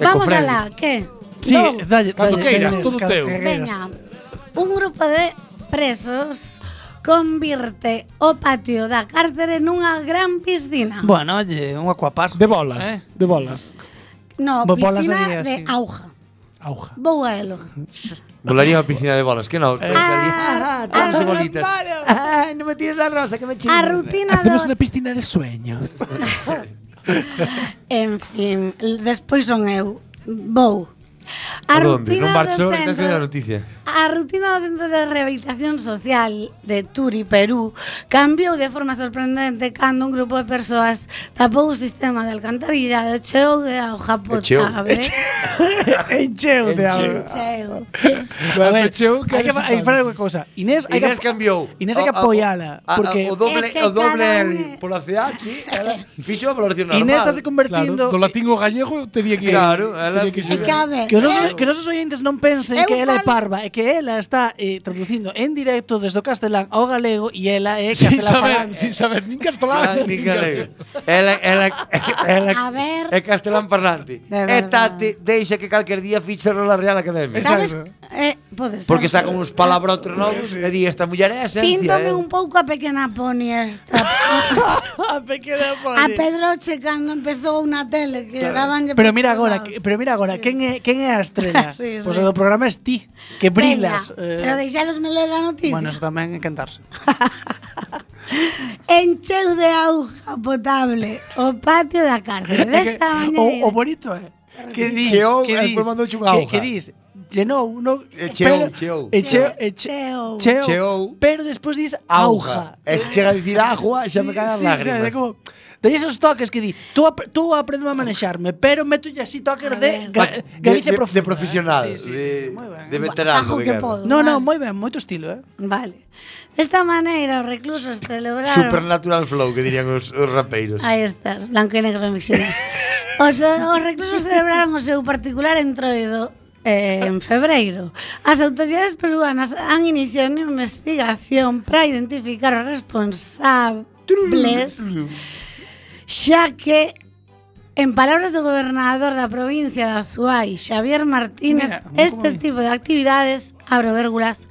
[SPEAKER 7] Vamos
[SPEAKER 3] Ecofren.
[SPEAKER 7] alá, que?
[SPEAKER 2] Sí,
[SPEAKER 7] Dou.
[SPEAKER 2] dalle, dalle,
[SPEAKER 8] Cando queiras,
[SPEAKER 2] dalle,
[SPEAKER 8] todo
[SPEAKER 2] cando
[SPEAKER 8] teu.
[SPEAKER 2] queiras.
[SPEAKER 7] Veña, un grupo de presos convirte o patio da cárcere nunha gran piscina.
[SPEAKER 2] Bueno, oye, un aquapark.
[SPEAKER 8] De bolas,
[SPEAKER 2] Eh?
[SPEAKER 8] de bolas.
[SPEAKER 7] no,
[SPEAKER 2] bo- bolas
[SPEAKER 7] piscina
[SPEAKER 2] había,
[SPEAKER 7] de
[SPEAKER 2] sí.
[SPEAKER 7] auga.
[SPEAKER 8] Auja.
[SPEAKER 7] Vou a elo.
[SPEAKER 3] Volaría a piscina Eh, de bolas, que
[SPEAKER 7] Eh.
[SPEAKER 3] non? Ah, todas
[SPEAKER 7] ah,
[SPEAKER 3] bolitas. Ah,
[SPEAKER 2] *laughs*
[SPEAKER 3] non me tires la rosa, que me
[SPEAKER 7] A rutina do...
[SPEAKER 8] piscina de sueños.
[SPEAKER 7] *laughs* En fin, l- despois son eu. Vou. A
[SPEAKER 3] Adonde?
[SPEAKER 7] rutina
[SPEAKER 3] Non marcho,
[SPEAKER 7] do
[SPEAKER 3] estás que a
[SPEAKER 7] centro...
[SPEAKER 3] noticia.
[SPEAKER 7] A rutina do Centro de Rehabilitación Social de Turi, Perú, cambiou de forma sorprendente cando un grupo de persoas tapou o sistema de alcantarillado cheo de auga
[SPEAKER 3] cheo.
[SPEAKER 7] potable. E
[SPEAKER 2] Encheu de algo.
[SPEAKER 7] Cheo.
[SPEAKER 2] A ver,
[SPEAKER 8] Encheu, que
[SPEAKER 2] hai que,
[SPEAKER 8] eres
[SPEAKER 2] hai que
[SPEAKER 8] un
[SPEAKER 2] falar unha cousa. Inés, hai
[SPEAKER 3] Inés
[SPEAKER 2] que,
[SPEAKER 3] cambiou.
[SPEAKER 2] Inés hai que
[SPEAKER 3] A- a-
[SPEAKER 2] apoiala.
[SPEAKER 3] a- a-
[SPEAKER 2] Porque
[SPEAKER 3] O doble,
[SPEAKER 7] Es que
[SPEAKER 3] o doble
[SPEAKER 7] cada
[SPEAKER 3] L
[SPEAKER 7] un-
[SPEAKER 3] pola CH, ela fixo a valoración normal.
[SPEAKER 2] Inés estase
[SPEAKER 8] Claro,
[SPEAKER 2] convertindo...
[SPEAKER 8] do latín ao gallego tería que
[SPEAKER 3] Claro, ela-
[SPEAKER 8] tería
[SPEAKER 7] É
[SPEAKER 8] que
[SPEAKER 7] E que
[SPEAKER 8] xogar.
[SPEAKER 7] a ver,
[SPEAKER 2] Que os,
[SPEAKER 7] eu-
[SPEAKER 2] nosos, que os nosos ointes non pensen
[SPEAKER 7] Eh, Eu
[SPEAKER 2] que ela é
[SPEAKER 7] falo-
[SPEAKER 2] parva e que ela está eh, traducindo en directo desde o castelán ao galego e ela é
[SPEAKER 8] Sin
[SPEAKER 2] castelán
[SPEAKER 8] saber,
[SPEAKER 2] falante.
[SPEAKER 8] sin saber, nin
[SPEAKER 3] Ah,
[SPEAKER 8] castelán.
[SPEAKER 3] ni galego. Ela, ela, ela,
[SPEAKER 7] A ver.
[SPEAKER 3] é castelán parlante.
[SPEAKER 7] De
[SPEAKER 3] E
[SPEAKER 7] verdad.
[SPEAKER 3] tate, deixa que calquer día fixe a Real Academia.
[SPEAKER 7] sabes, eh, pode ser.
[SPEAKER 3] Porque sacan uns palabrotes novos e di esta muller é a esencia.
[SPEAKER 7] Síntome
[SPEAKER 3] eh.
[SPEAKER 7] un pouco a pequena poni esta.
[SPEAKER 2] A pequena
[SPEAKER 7] a Pedroche cando empezou na tele que dabanlle
[SPEAKER 2] Pero
[SPEAKER 7] por
[SPEAKER 2] mira
[SPEAKER 7] todos
[SPEAKER 2] agora,
[SPEAKER 7] lados.
[SPEAKER 2] que- pero mira agora, quen é quen é a estrela?
[SPEAKER 7] *laughs* Sí,
[SPEAKER 2] Pois o
[SPEAKER 7] sí.
[SPEAKER 2] do programa es ti, que brilas. eh.
[SPEAKER 7] Veña, Pero deixadosme ler a noticia.
[SPEAKER 2] bueno, eso tamén é *laughs* cantarse.
[SPEAKER 7] Encheu de auga potable o patio da cárcere. Desta maneira.
[SPEAKER 2] o, o bonito é que dis,
[SPEAKER 3] Cheou,
[SPEAKER 2] que
[SPEAKER 3] e
[SPEAKER 2] dis,
[SPEAKER 3] despois mandouche unha
[SPEAKER 2] que-
[SPEAKER 3] hoja.
[SPEAKER 2] que dis, llenou, no,
[SPEAKER 3] E cheou,
[SPEAKER 2] pero-
[SPEAKER 3] cheou.
[SPEAKER 2] e cheo, e che-
[SPEAKER 7] Cheo.
[SPEAKER 2] cheo,
[SPEAKER 3] Cheou.
[SPEAKER 2] pero despois dis auja.
[SPEAKER 3] E se chega a dicir agua, xa me caen as
[SPEAKER 2] Sí,
[SPEAKER 3] lágrimas.
[SPEAKER 2] claro, é como Dei esos toques que di, tú, ap tú aprendes a manexarme, pero meto así toques de
[SPEAKER 3] Va,
[SPEAKER 2] ga Galicia
[SPEAKER 3] de,
[SPEAKER 2] profunda.
[SPEAKER 3] de profesional,
[SPEAKER 2] eh? Sí, sí,
[SPEAKER 3] de,
[SPEAKER 2] sí, moi ben.
[SPEAKER 3] de veterano
[SPEAKER 7] Bajo
[SPEAKER 3] de
[SPEAKER 7] que
[SPEAKER 3] guerra.
[SPEAKER 7] podo.
[SPEAKER 2] No, no,
[SPEAKER 7] Vale.
[SPEAKER 2] moi ben, moito estilo, eh.
[SPEAKER 7] Vale. Desta maneira os reclusos celebraron...
[SPEAKER 3] Supernatural flow, que dirían os, os rapeiros.
[SPEAKER 7] Aí estás, blanco e negro mixinas. Os, os reclusos celebraron o seu particular entroido eh, en febreiro. As autoridades peruanas han iniciado unha investigación para identificar os responsables xa que En palabras do gobernador da provincia de Azuay, Xavier Martínez,
[SPEAKER 2] Mira, como
[SPEAKER 7] este
[SPEAKER 2] vi.
[SPEAKER 7] tipo de actividades, abro vérgulas,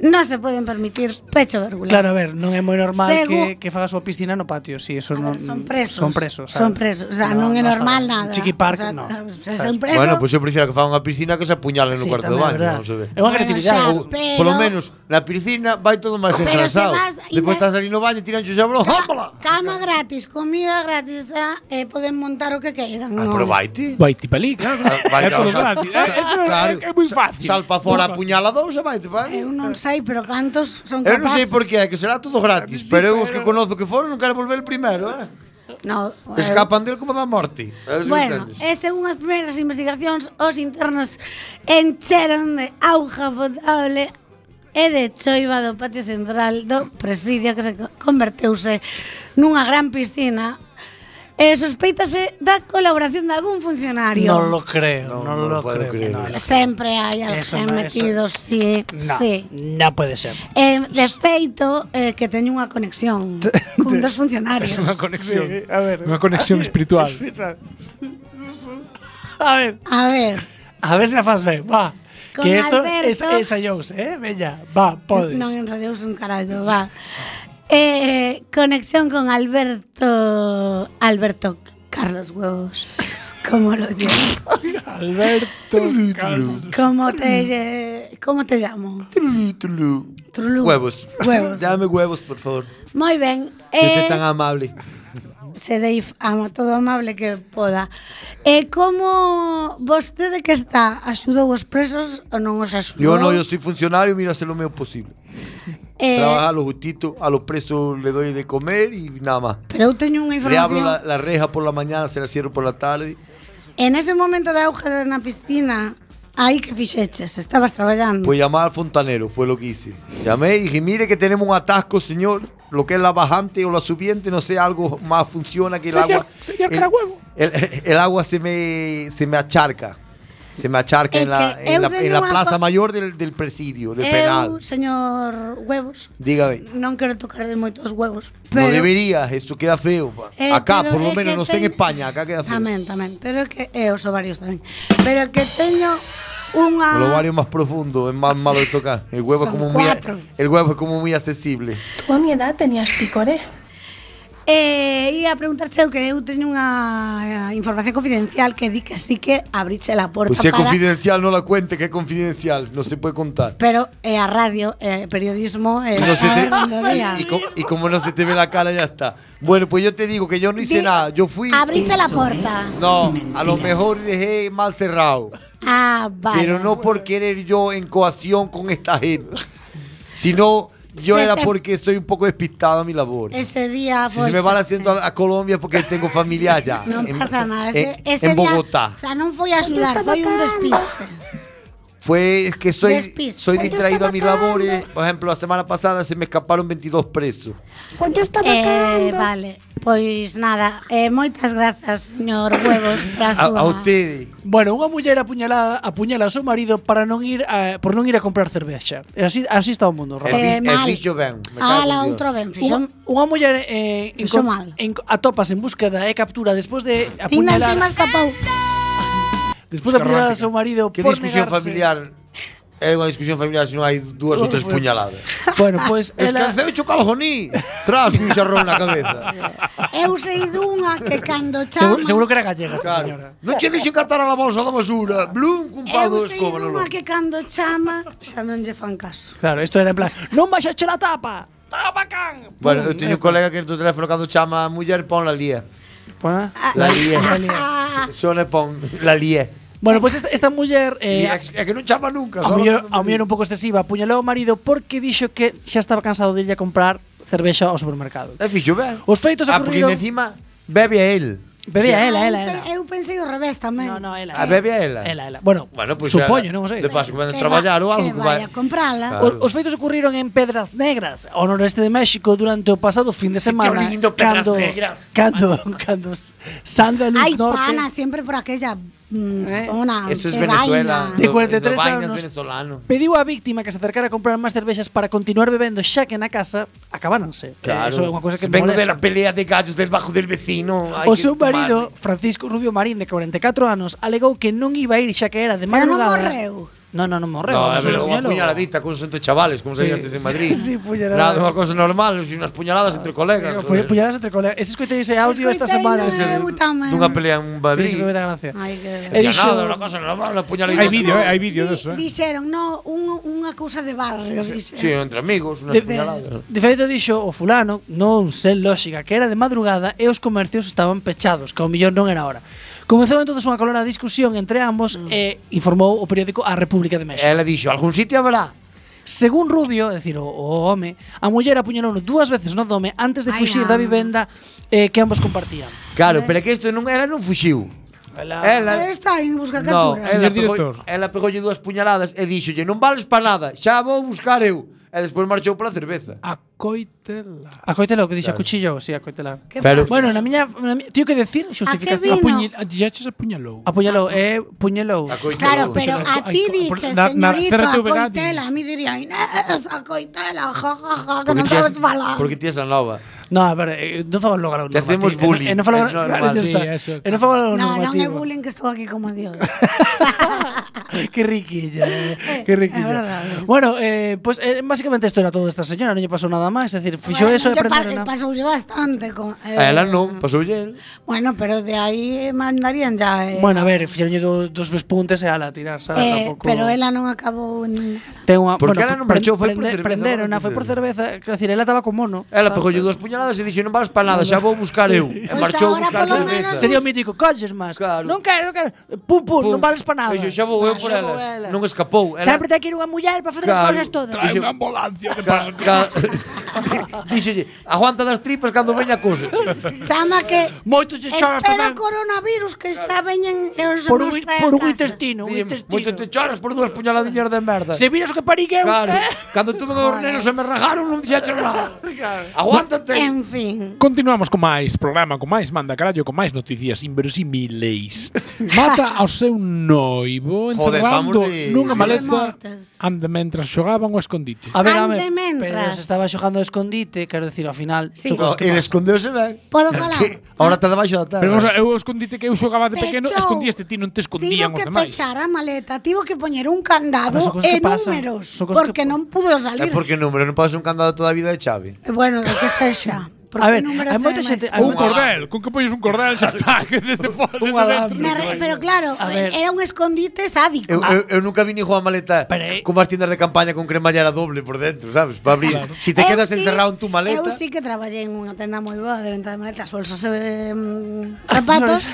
[SPEAKER 7] non se poden permitir, pecho vérgulas.
[SPEAKER 2] Claro, a ver, non é moi normal
[SPEAKER 7] Segu-
[SPEAKER 2] que, que faga a súa piscina no patio, si eso
[SPEAKER 7] A
[SPEAKER 2] non
[SPEAKER 7] ver, son presos.
[SPEAKER 2] Son presos, sabe?
[SPEAKER 7] Son presos, o sea, non é
[SPEAKER 2] está
[SPEAKER 7] normal
[SPEAKER 2] ben.
[SPEAKER 7] nada.
[SPEAKER 2] Chiqui Park,
[SPEAKER 7] O sea,
[SPEAKER 2] no.
[SPEAKER 7] se son presos.
[SPEAKER 3] Bueno, pois pues eu prefiro que fagan unha piscina que se apuñalen no
[SPEAKER 2] Sí,
[SPEAKER 3] cuarto do
[SPEAKER 2] tamén é
[SPEAKER 3] baño,
[SPEAKER 2] verdad.
[SPEAKER 3] non se ve.
[SPEAKER 2] É unha
[SPEAKER 7] Bueno,
[SPEAKER 2] creatividade.
[SPEAKER 7] xa,
[SPEAKER 3] Ou,
[SPEAKER 7] pero-
[SPEAKER 3] polo menos, na piscina vai todo máis
[SPEAKER 7] Pero se
[SPEAKER 3] engrasado.
[SPEAKER 7] vas Ah,
[SPEAKER 3] Si
[SPEAKER 7] ainda-
[SPEAKER 3] Depois estás ali no baño, tiran o xabrón, hámala!
[SPEAKER 7] Cama gratis, comida gratis, ah, e poden montar o que queiran.
[SPEAKER 3] Ah,
[SPEAKER 7] non.
[SPEAKER 3] pero vaite.
[SPEAKER 8] Vai ti palí, claro.
[SPEAKER 3] Ah, vai,
[SPEAKER 8] É todo
[SPEAKER 3] claro,
[SPEAKER 8] gratis. É,
[SPEAKER 3] sal-
[SPEAKER 8] eh, eso é-
[SPEAKER 3] claro.
[SPEAKER 8] é moi fácil.
[SPEAKER 3] Salpa fora a puñala dous e vaite, vai.
[SPEAKER 7] Eu non sei, pero cantos son
[SPEAKER 3] Eu non
[SPEAKER 7] capaces.
[SPEAKER 3] sei por que, é que será todo gratis, pero eu os
[SPEAKER 2] eh.
[SPEAKER 3] que conozo que foron non quero volver primeiro, eh?
[SPEAKER 7] No, eh, eu-
[SPEAKER 3] Escapan del como da morte. É o que
[SPEAKER 7] Bueno,
[SPEAKER 3] entendes.
[SPEAKER 7] e según as primeiras investigacións, os internos encheron de auga potable e de choiva do patio central do presidio que se co- converteuse nunha gran piscina e sospeitase da colaboración de algún funcionario.
[SPEAKER 2] Non lo creo, non,
[SPEAKER 3] non
[SPEAKER 2] lo
[SPEAKER 3] lo puedo
[SPEAKER 2] creo.
[SPEAKER 3] creer.
[SPEAKER 2] No,
[SPEAKER 7] Sempre hai
[SPEAKER 2] Eso
[SPEAKER 7] alguén
[SPEAKER 2] no,
[SPEAKER 7] metido, sí,
[SPEAKER 2] no,
[SPEAKER 7] sí.
[SPEAKER 2] non pode ser.
[SPEAKER 7] Eh, de feito, eh, que teño unha conexión
[SPEAKER 2] *laughs*
[SPEAKER 7] cun dos funcionarios.
[SPEAKER 8] conexión.
[SPEAKER 2] a ver.
[SPEAKER 8] Unha conexión espiritual.
[SPEAKER 2] A ver,
[SPEAKER 7] A ver,
[SPEAKER 2] a ver se a fas ben, va.
[SPEAKER 7] Con
[SPEAKER 2] que isto es,
[SPEAKER 7] Alberto-
[SPEAKER 2] ensayous, eh? Veña, va, podes.
[SPEAKER 7] Non ensayouse un carallo, va. Eh, conexión con Alberto Alberto Carlos Huevos. ¿Cómo lo digo?
[SPEAKER 8] Alberto Carlos.
[SPEAKER 7] ¿Cómo te, eh, ¿Cómo te llamo?
[SPEAKER 3] Trulú, trulú.
[SPEAKER 7] Trulú.
[SPEAKER 3] Huevos.
[SPEAKER 7] Huevos.
[SPEAKER 3] Dame huevos, por favor.
[SPEAKER 7] Moi ben.
[SPEAKER 3] Que usted
[SPEAKER 7] Eh,
[SPEAKER 3] tan amable.
[SPEAKER 7] serei f- ama todo amable que poda. E como vostede que está axudou os presos ou non os
[SPEAKER 3] Yo
[SPEAKER 7] axudou?
[SPEAKER 3] no, yo soy funcionario, mira, hacer lo menos posible.
[SPEAKER 7] eh,
[SPEAKER 3] Trabajar a los justitos, a los presos le doy de comer y nada más.
[SPEAKER 7] Pero eu teño unha
[SPEAKER 3] Le abro
[SPEAKER 7] información.
[SPEAKER 3] la, la reja por la mañana, se la cierro por la tarde.
[SPEAKER 7] En ese momento de auga na piscina, aí que fixeches, estabas traballando.
[SPEAKER 3] Pues llamar al fontanero, fue lo que hice. Llamé y dije, mire que tenemos un atasco, señor. Lo que es la bajante o la subiente, no sé, algo más funciona que el agua.
[SPEAKER 8] señor
[SPEAKER 3] el-
[SPEAKER 8] Carahuevo.
[SPEAKER 3] El, el agua se me, se me acharca. Se me acharca
[SPEAKER 7] Es
[SPEAKER 3] en la,
[SPEAKER 7] que
[SPEAKER 3] en la,
[SPEAKER 7] eu teño
[SPEAKER 3] en la
[SPEAKER 7] unha
[SPEAKER 3] plaza
[SPEAKER 7] pa-
[SPEAKER 3] mayor del, del presidio, del
[SPEAKER 7] eu,
[SPEAKER 3] penal.
[SPEAKER 7] señor Huevos,
[SPEAKER 3] Dígame.
[SPEAKER 7] non quero tocar de moitos huevos,
[SPEAKER 3] No
[SPEAKER 7] pero...
[SPEAKER 3] deberías, eso queda feo. pa.
[SPEAKER 7] Eh,
[SPEAKER 3] acá,
[SPEAKER 7] pero
[SPEAKER 3] por lo
[SPEAKER 7] é
[SPEAKER 3] menos,
[SPEAKER 7] que
[SPEAKER 3] no sé en
[SPEAKER 7] teño-
[SPEAKER 3] España, acá queda feo.
[SPEAKER 7] Tamén, tamén, pero é que é os ovarios tamén. Pero que teño unha
[SPEAKER 3] El ovario es más profundo, es más malo de tocar. El huevo, es
[SPEAKER 7] Ah. Son
[SPEAKER 3] como muy,
[SPEAKER 7] cuatro.
[SPEAKER 3] el huevo es como muy accesible.
[SPEAKER 9] ¿Tú a mi edad tenías picores?
[SPEAKER 7] Eh, ia preguntarche eu que eu teño unha eh, información confidencial que di que sí que abriche la porta
[SPEAKER 3] Pues si es
[SPEAKER 7] para
[SPEAKER 3] confidencial, no la cuente, que es confidencial. No se puede contar.
[SPEAKER 7] pero é a radio, é periodismo,
[SPEAKER 3] Y,
[SPEAKER 7] e é
[SPEAKER 3] no se
[SPEAKER 7] a
[SPEAKER 3] te-
[SPEAKER 7] orden do día.
[SPEAKER 3] y co- y como no se te ve la cara, ya está. Bueno, pues yo te digo que yo no hice
[SPEAKER 7] Di-
[SPEAKER 3] nada. Yo fui.
[SPEAKER 7] Abriche la porta.
[SPEAKER 3] No, a lo mejor dejé mal cerrado.
[SPEAKER 7] Ah, vale.
[SPEAKER 3] Pero no por querer yo en coacción con esta gente. Sino yo
[SPEAKER 7] Se
[SPEAKER 3] era
[SPEAKER 7] te-
[SPEAKER 3] porque soy un poco despistado a mi labor.
[SPEAKER 7] Ese día
[SPEAKER 3] Si se me van
[SPEAKER 7] folchase.
[SPEAKER 3] haciendo a, a Colombia es porque tengo familia
[SPEAKER 7] *laughs*
[SPEAKER 3] allá.
[SPEAKER 7] Non
[SPEAKER 3] en-
[SPEAKER 7] pasa nada,
[SPEAKER 3] En,
[SPEAKER 7] ese, ese
[SPEAKER 3] en Bogotá.
[SPEAKER 7] Día, o sea, non foi a axudar, foi un despiste.
[SPEAKER 3] Fue es que soy,
[SPEAKER 7] Despiste.
[SPEAKER 3] soy distraído a mis labores. Por ejemplo, la semana pasada se me escaparon 22 presos.
[SPEAKER 7] Eh, vale, pois nada, eh, moitas grazas, señor Huevos, para a Eh,
[SPEAKER 3] A,
[SPEAKER 7] súa...
[SPEAKER 3] a ustedes.
[SPEAKER 2] Bueno, unha muller apuñalada apuñala ao seu marido para non ir a, por non ir a comprar cervexa. E Así, así está o mundo,
[SPEAKER 3] El,
[SPEAKER 2] Rafa.
[SPEAKER 7] Eh,
[SPEAKER 3] bi- el
[SPEAKER 7] mal.
[SPEAKER 3] bicho ven. me cago en
[SPEAKER 7] Ah, la
[SPEAKER 3] Dios.
[SPEAKER 7] outra ben,
[SPEAKER 2] Unha,
[SPEAKER 7] fixo
[SPEAKER 2] unha muller eh,
[SPEAKER 7] Fixo
[SPEAKER 2] encon-
[SPEAKER 7] mal.
[SPEAKER 2] enco- atopas en búsqueda e captura despois de
[SPEAKER 7] Ainda
[SPEAKER 2] apuñalar
[SPEAKER 7] encima escapou.
[SPEAKER 2] despois de
[SPEAKER 8] Busca
[SPEAKER 2] apuñalar ao
[SPEAKER 8] romántica.
[SPEAKER 2] seu marido
[SPEAKER 3] ¿Qué
[SPEAKER 2] por
[SPEAKER 3] discusión
[SPEAKER 2] negarse.
[SPEAKER 3] familiar? Es una discusión familiar si no hay dos o tres puñaladas.
[SPEAKER 2] Bueno, pues, pois
[SPEAKER 3] Es
[SPEAKER 7] *laughs*
[SPEAKER 3] que
[SPEAKER 2] ela
[SPEAKER 3] hace ocho caljoní. Tras un charrón en la cabeza.
[SPEAKER 7] Eu sei dunha que cando
[SPEAKER 2] seguro,
[SPEAKER 7] chaman...
[SPEAKER 2] seguro que era gallega esta señora.
[SPEAKER 3] Claro. No tiene que catar a la bolsa de basura. Blum,
[SPEAKER 7] Eu
[SPEAKER 3] compadre,
[SPEAKER 7] sei dunha
[SPEAKER 3] escóbalo.
[SPEAKER 7] que cando chama xa non lle fan caso.
[SPEAKER 2] Claro, isto era en plan, non baixache la tapa. Tapa can.
[SPEAKER 3] Bueno, yo tengo un colega que en tu teléfono cuando chama a mujer pon la lía.
[SPEAKER 2] Bueno,
[SPEAKER 3] La lía.
[SPEAKER 7] Ah,
[SPEAKER 3] Suena pon la lía.
[SPEAKER 2] bueno pois esta, esta muller eh,
[SPEAKER 3] Lía, es que no chama
[SPEAKER 2] A
[SPEAKER 3] nunca. solo
[SPEAKER 2] mellor,
[SPEAKER 3] chama
[SPEAKER 2] a mellor un pouco excesiva, apuñalou o marido porque dixo que xa estaba cansado de irlle a comprar cervexa ao supermercado.
[SPEAKER 3] É fixo, ben.
[SPEAKER 2] Os feitos
[SPEAKER 3] Ah, porque
[SPEAKER 2] ocurriron-
[SPEAKER 3] de encima bebe a él.
[SPEAKER 2] Bebe a ela,
[SPEAKER 7] eu
[SPEAKER 2] ela,
[SPEAKER 7] pe-
[SPEAKER 2] ela.
[SPEAKER 7] Eu pensei o revés tamén.
[SPEAKER 2] No, no, ela.
[SPEAKER 3] A Ah, bebe a ela.
[SPEAKER 2] Ela, ela. Bueno,
[SPEAKER 3] Bueno, pues pois
[SPEAKER 2] supoño,
[SPEAKER 3] ela-
[SPEAKER 2] non o sei.
[SPEAKER 3] de paso que van a
[SPEAKER 7] Que
[SPEAKER 3] traballar ou
[SPEAKER 7] va-
[SPEAKER 3] algo que
[SPEAKER 7] Que vai
[SPEAKER 3] vai-
[SPEAKER 7] a comprala.
[SPEAKER 3] Claro.
[SPEAKER 2] O- Os feitos ocurriron en Pedras Negras, ao noreste de México, durante o pasado fin de semana.
[SPEAKER 3] lindo, Pedras Negras.
[SPEAKER 2] Cando, *laughs* cando Sandra Luz
[SPEAKER 7] Ai,
[SPEAKER 2] Norte...
[SPEAKER 7] pana, sempre por aquella mm,
[SPEAKER 2] Eh,
[SPEAKER 7] zona.
[SPEAKER 3] Esto es
[SPEAKER 7] que
[SPEAKER 3] Venezuela.
[SPEAKER 7] vaina.
[SPEAKER 2] De 43
[SPEAKER 3] Lo- lo vainas
[SPEAKER 2] anos.
[SPEAKER 3] venezolano.
[SPEAKER 2] Pediu á víctima que se acercara a comprar máis cervexas para continuar bebendo xa que na casa acabáronse. Eh, Eso é unha cousa que
[SPEAKER 3] Vengo
[SPEAKER 2] molesta.
[SPEAKER 3] de la pelea de gallos del bajo del vecino. hay
[SPEAKER 2] O
[SPEAKER 3] que eh.
[SPEAKER 2] seu marido,
[SPEAKER 3] tomarme.
[SPEAKER 2] Francisco Rubio Marín, de 44 anos, alegou que non iba a ir xa que era de
[SPEAKER 7] Pero non
[SPEAKER 2] madrugada.
[SPEAKER 7] morreu.
[SPEAKER 2] Non, non, non morreu.
[SPEAKER 3] No, eh, a
[SPEAKER 2] apenas
[SPEAKER 3] ver,
[SPEAKER 2] o
[SPEAKER 3] unha
[SPEAKER 2] apuñalou.
[SPEAKER 3] puñaladita con xente chavales, como
[SPEAKER 2] Sí,
[SPEAKER 3] se sí, antes en
[SPEAKER 2] sí,
[SPEAKER 3] Madrid.
[SPEAKER 2] sí, puñaladas.
[SPEAKER 3] Nada, unha cosa normal, si unas puñaladas entre colegas.
[SPEAKER 2] Pu-
[SPEAKER 3] joder.
[SPEAKER 2] Puñaladas entre colegas. Ese escoitei ese audio esta
[SPEAKER 7] Escoitei,
[SPEAKER 2] semana.
[SPEAKER 7] non é? Eu tamén.
[SPEAKER 3] Dunha pelea en Madrid.
[SPEAKER 2] Sí, me da gracia.
[SPEAKER 7] Ai, que...
[SPEAKER 2] E
[SPEAKER 3] Ya
[SPEAKER 2] dixo,
[SPEAKER 3] nada, unha cosa normal, unha puñaladita.
[SPEAKER 8] Hai vídeo, eh, hai vídeo
[SPEAKER 7] Di-
[SPEAKER 8] deso, eh.
[SPEAKER 7] Dixeron, no, un, unha cousa de barrio,
[SPEAKER 3] Sí,
[SPEAKER 7] dixeron.
[SPEAKER 3] entre amigos, unas
[SPEAKER 2] De,
[SPEAKER 3] puñaladas.
[SPEAKER 2] de feito dixo o fulano non sen lógica que era de madrugada e os comercios estaban pechados que ao millón non era hora Comezou entonces unha colorada discusión entre ambos e informou o periódico A República de México
[SPEAKER 3] Ela dixo, algún sitio habrá?
[SPEAKER 2] Según Rubio, é dicir, o, o home, a muller apuñalou dúas veces no dome antes de
[SPEAKER 7] Ai,
[SPEAKER 2] fuxir da
[SPEAKER 7] ama.
[SPEAKER 2] vivenda eh, que ambos compartían.
[SPEAKER 3] Claro, pero é que isto non, ela non fuxiu.
[SPEAKER 7] Pero
[SPEAKER 3] Ela,
[SPEAKER 7] está en busca
[SPEAKER 3] No,
[SPEAKER 7] captura.
[SPEAKER 3] ela
[SPEAKER 8] Señor
[SPEAKER 3] pegou,
[SPEAKER 8] director.
[SPEAKER 3] ela pegoulle dúas puñaladas e dixolle non vales para nada, xa vou buscar eu. E despois marchou pola cerveza.
[SPEAKER 8] A coitela.
[SPEAKER 2] Acoitela o que dixo, acuchillo, sí, acoitela.
[SPEAKER 7] Que
[SPEAKER 3] Pero-
[SPEAKER 7] pasa?
[SPEAKER 2] Bueno, na miña, na miña tío que decir
[SPEAKER 7] A Ah, que
[SPEAKER 2] xustificación.
[SPEAKER 7] vi-
[SPEAKER 8] Apuñal, ya se apuñalou.
[SPEAKER 2] Apuñalou, eh, puñalou.
[SPEAKER 3] Acoitela.
[SPEAKER 7] Claro, pero a
[SPEAKER 8] Ay,
[SPEAKER 7] ti
[SPEAKER 8] co-
[SPEAKER 7] dices,
[SPEAKER 8] na- na
[SPEAKER 7] señorito,
[SPEAKER 8] CRTVG,
[SPEAKER 7] a coitela.
[SPEAKER 8] dices.
[SPEAKER 7] A mí diría, Inés, a coitela, ja, ja, ja, que
[SPEAKER 3] Porque
[SPEAKER 7] non
[SPEAKER 3] ti has-
[SPEAKER 7] sabes falar.
[SPEAKER 3] Porque ti esa nova.
[SPEAKER 2] No, a ver, eh, non fago logo a
[SPEAKER 3] Te hacemos
[SPEAKER 2] E
[SPEAKER 3] bullying,
[SPEAKER 2] non fago
[SPEAKER 3] es
[SPEAKER 2] claro,
[SPEAKER 3] normal.
[SPEAKER 2] ya
[SPEAKER 8] Sí,
[SPEAKER 2] está.
[SPEAKER 8] eso,
[SPEAKER 2] E non fago logo
[SPEAKER 7] No, non é
[SPEAKER 2] normativo.
[SPEAKER 7] bullying que estou aquí como Dios.
[SPEAKER 2] *laughs* Qué riquilla, eh, qué
[SPEAKER 7] *laughs* É verdade.
[SPEAKER 2] riquilla. Bueno, eh, pues eh, básicamente esto era todo de esta señora, no le pasó nada nada máis, é dicir, fixo eso e
[SPEAKER 7] Bueno, pa-
[SPEAKER 2] prenderon.
[SPEAKER 7] pasoulle bastante con eh,
[SPEAKER 3] A ela non, pasoulle el.
[SPEAKER 7] Bueno, pero de aí mandarían ya eh,
[SPEAKER 2] Bueno, a ver, fixeronlle do, dos vespuntes e ala a tirar, sabes,
[SPEAKER 7] eh,
[SPEAKER 2] tampouco.
[SPEAKER 7] pero ela non acabou nin...
[SPEAKER 2] Ten unha, bueno,
[SPEAKER 3] Porque ela non
[SPEAKER 2] pre-
[SPEAKER 3] marchou, foi por
[SPEAKER 2] prende-
[SPEAKER 3] cerveza,
[SPEAKER 2] Prenderona,
[SPEAKER 3] vamos
[SPEAKER 2] foi por
[SPEAKER 3] dizer.
[SPEAKER 2] cerveza, quer dicir, ela estaba con mono.
[SPEAKER 3] Ela pegoulle dúas puñaladas e dixo non vas para nada, xa vou buscar eu. E
[SPEAKER 7] Pois
[SPEAKER 3] marchou
[SPEAKER 7] agora
[SPEAKER 3] buscar
[SPEAKER 7] polo
[SPEAKER 3] cerveza.
[SPEAKER 7] menos-
[SPEAKER 2] Sería o mítico, colles máis.
[SPEAKER 3] Claro.
[SPEAKER 2] Non quero, non quero. Pum, pum, non vales para nada.
[SPEAKER 3] Dixo, xa vou eu
[SPEAKER 2] Ah,
[SPEAKER 3] por
[SPEAKER 2] xa vou
[SPEAKER 3] elas. Non escapou. Ela-
[SPEAKER 2] Sempre te quero unha muller para facer as
[SPEAKER 3] Claro.
[SPEAKER 2] cousas todas.
[SPEAKER 8] Hai
[SPEAKER 3] Dixo-
[SPEAKER 8] unha ambulancia que
[SPEAKER 3] Ca-
[SPEAKER 8] pasa.
[SPEAKER 3] ca- *laughs*
[SPEAKER 6] *laughs*
[SPEAKER 3] Díxolle, aguanta das tripas cando veña a cousa.
[SPEAKER 7] Chama
[SPEAKER 2] *laughs*
[SPEAKER 7] que
[SPEAKER 2] Moito che choras
[SPEAKER 7] espera
[SPEAKER 2] tamén.
[SPEAKER 7] coronavirus que xa veñen e os
[SPEAKER 2] Por un,
[SPEAKER 7] nos traen
[SPEAKER 2] por un
[SPEAKER 7] casa.
[SPEAKER 2] intestino, un
[SPEAKER 3] Dille, Moito
[SPEAKER 2] intestino.
[SPEAKER 3] te choras por dúas puñaladiñas de merda.
[SPEAKER 2] Se viras o que parí eu,
[SPEAKER 3] Claro,
[SPEAKER 2] eh?
[SPEAKER 3] cando tuve os nenos se me rajaron non dixaches nada. Aguántate.
[SPEAKER 7] En fin.
[SPEAKER 8] Continuamos con máis programa, con máis manda carallo, con máis noticias inverosímiles. Mata ao seu noivo
[SPEAKER 3] Joder,
[SPEAKER 8] encerrando
[SPEAKER 3] vamos de- de
[SPEAKER 8] nunha maleta
[SPEAKER 7] mortas.
[SPEAKER 8] ande mentras xogaban o escondite.
[SPEAKER 2] A ver, a
[SPEAKER 7] Ande
[SPEAKER 2] ver, pero
[SPEAKER 7] mentras.
[SPEAKER 2] se estaba xogando ao escondite, quero decir, ao final,
[SPEAKER 7] Sí.
[SPEAKER 2] chocos,
[SPEAKER 3] No,
[SPEAKER 2] que
[SPEAKER 3] el
[SPEAKER 2] pasa?
[SPEAKER 3] escondeuse ben.
[SPEAKER 7] Podo falar?
[SPEAKER 3] Que Ahora está debaixo da terra.
[SPEAKER 8] Pero vamos, a- eu o escondite que eu xogaba de pequeno,
[SPEAKER 7] Pechou.
[SPEAKER 8] escondíaste ti, non te escondían
[SPEAKER 7] Tivo
[SPEAKER 8] os
[SPEAKER 7] que
[SPEAKER 8] demais.
[SPEAKER 7] pechar a maleta, tivo que poñer
[SPEAKER 2] Pero
[SPEAKER 7] un candado
[SPEAKER 2] son cosas que
[SPEAKER 7] e
[SPEAKER 2] pasan,
[SPEAKER 7] números,
[SPEAKER 2] son cosas
[SPEAKER 7] porque
[SPEAKER 2] que- Eh,
[SPEAKER 7] non
[SPEAKER 3] É
[SPEAKER 7] pudo salir.
[SPEAKER 3] porque número non pode ser un candado toda a vida de chave.
[SPEAKER 7] E Bueno, do que sexa. Porque
[SPEAKER 2] A ver,
[SPEAKER 7] números
[SPEAKER 2] hai moita
[SPEAKER 7] é máis-
[SPEAKER 2] xente, hai
[SPEAKER 8] Ou un
[SPEAKER 2] moita-
[SPEAKER 8] cordel, con que poñes un
[SPEAKER 3] *laughs*
[SPEAKER 8] cordel xa está, que desde fora, desde
[SPEAKER 2] alambre.
[SPEAKER 8] dentro.
[SPEAKER 7] Me re- pero claro,
[SPEAKER 2] A ver.
[SPEAKER 7] era un escondite sádico.
[SPEAKER 3] Eu, eu, eu nunca vi ni jugar maleta
[SPEAKER 2] Pero, eh.
[SPEAKER 3] con as tiendas de campaña con cremallera doble por dentro, sabes? Para abrir. Claro. Si te
[SPEAKER 7] Eu
[SPEAKER 3] quedas
[SPEAKER 7] sí-
[SPEAKER 3] encerrado en tu maleta.
[SPEAKER 7] Eu sí que traballei en unha tenda moi boa de venta de maletas, bolsas e mm, zapatos.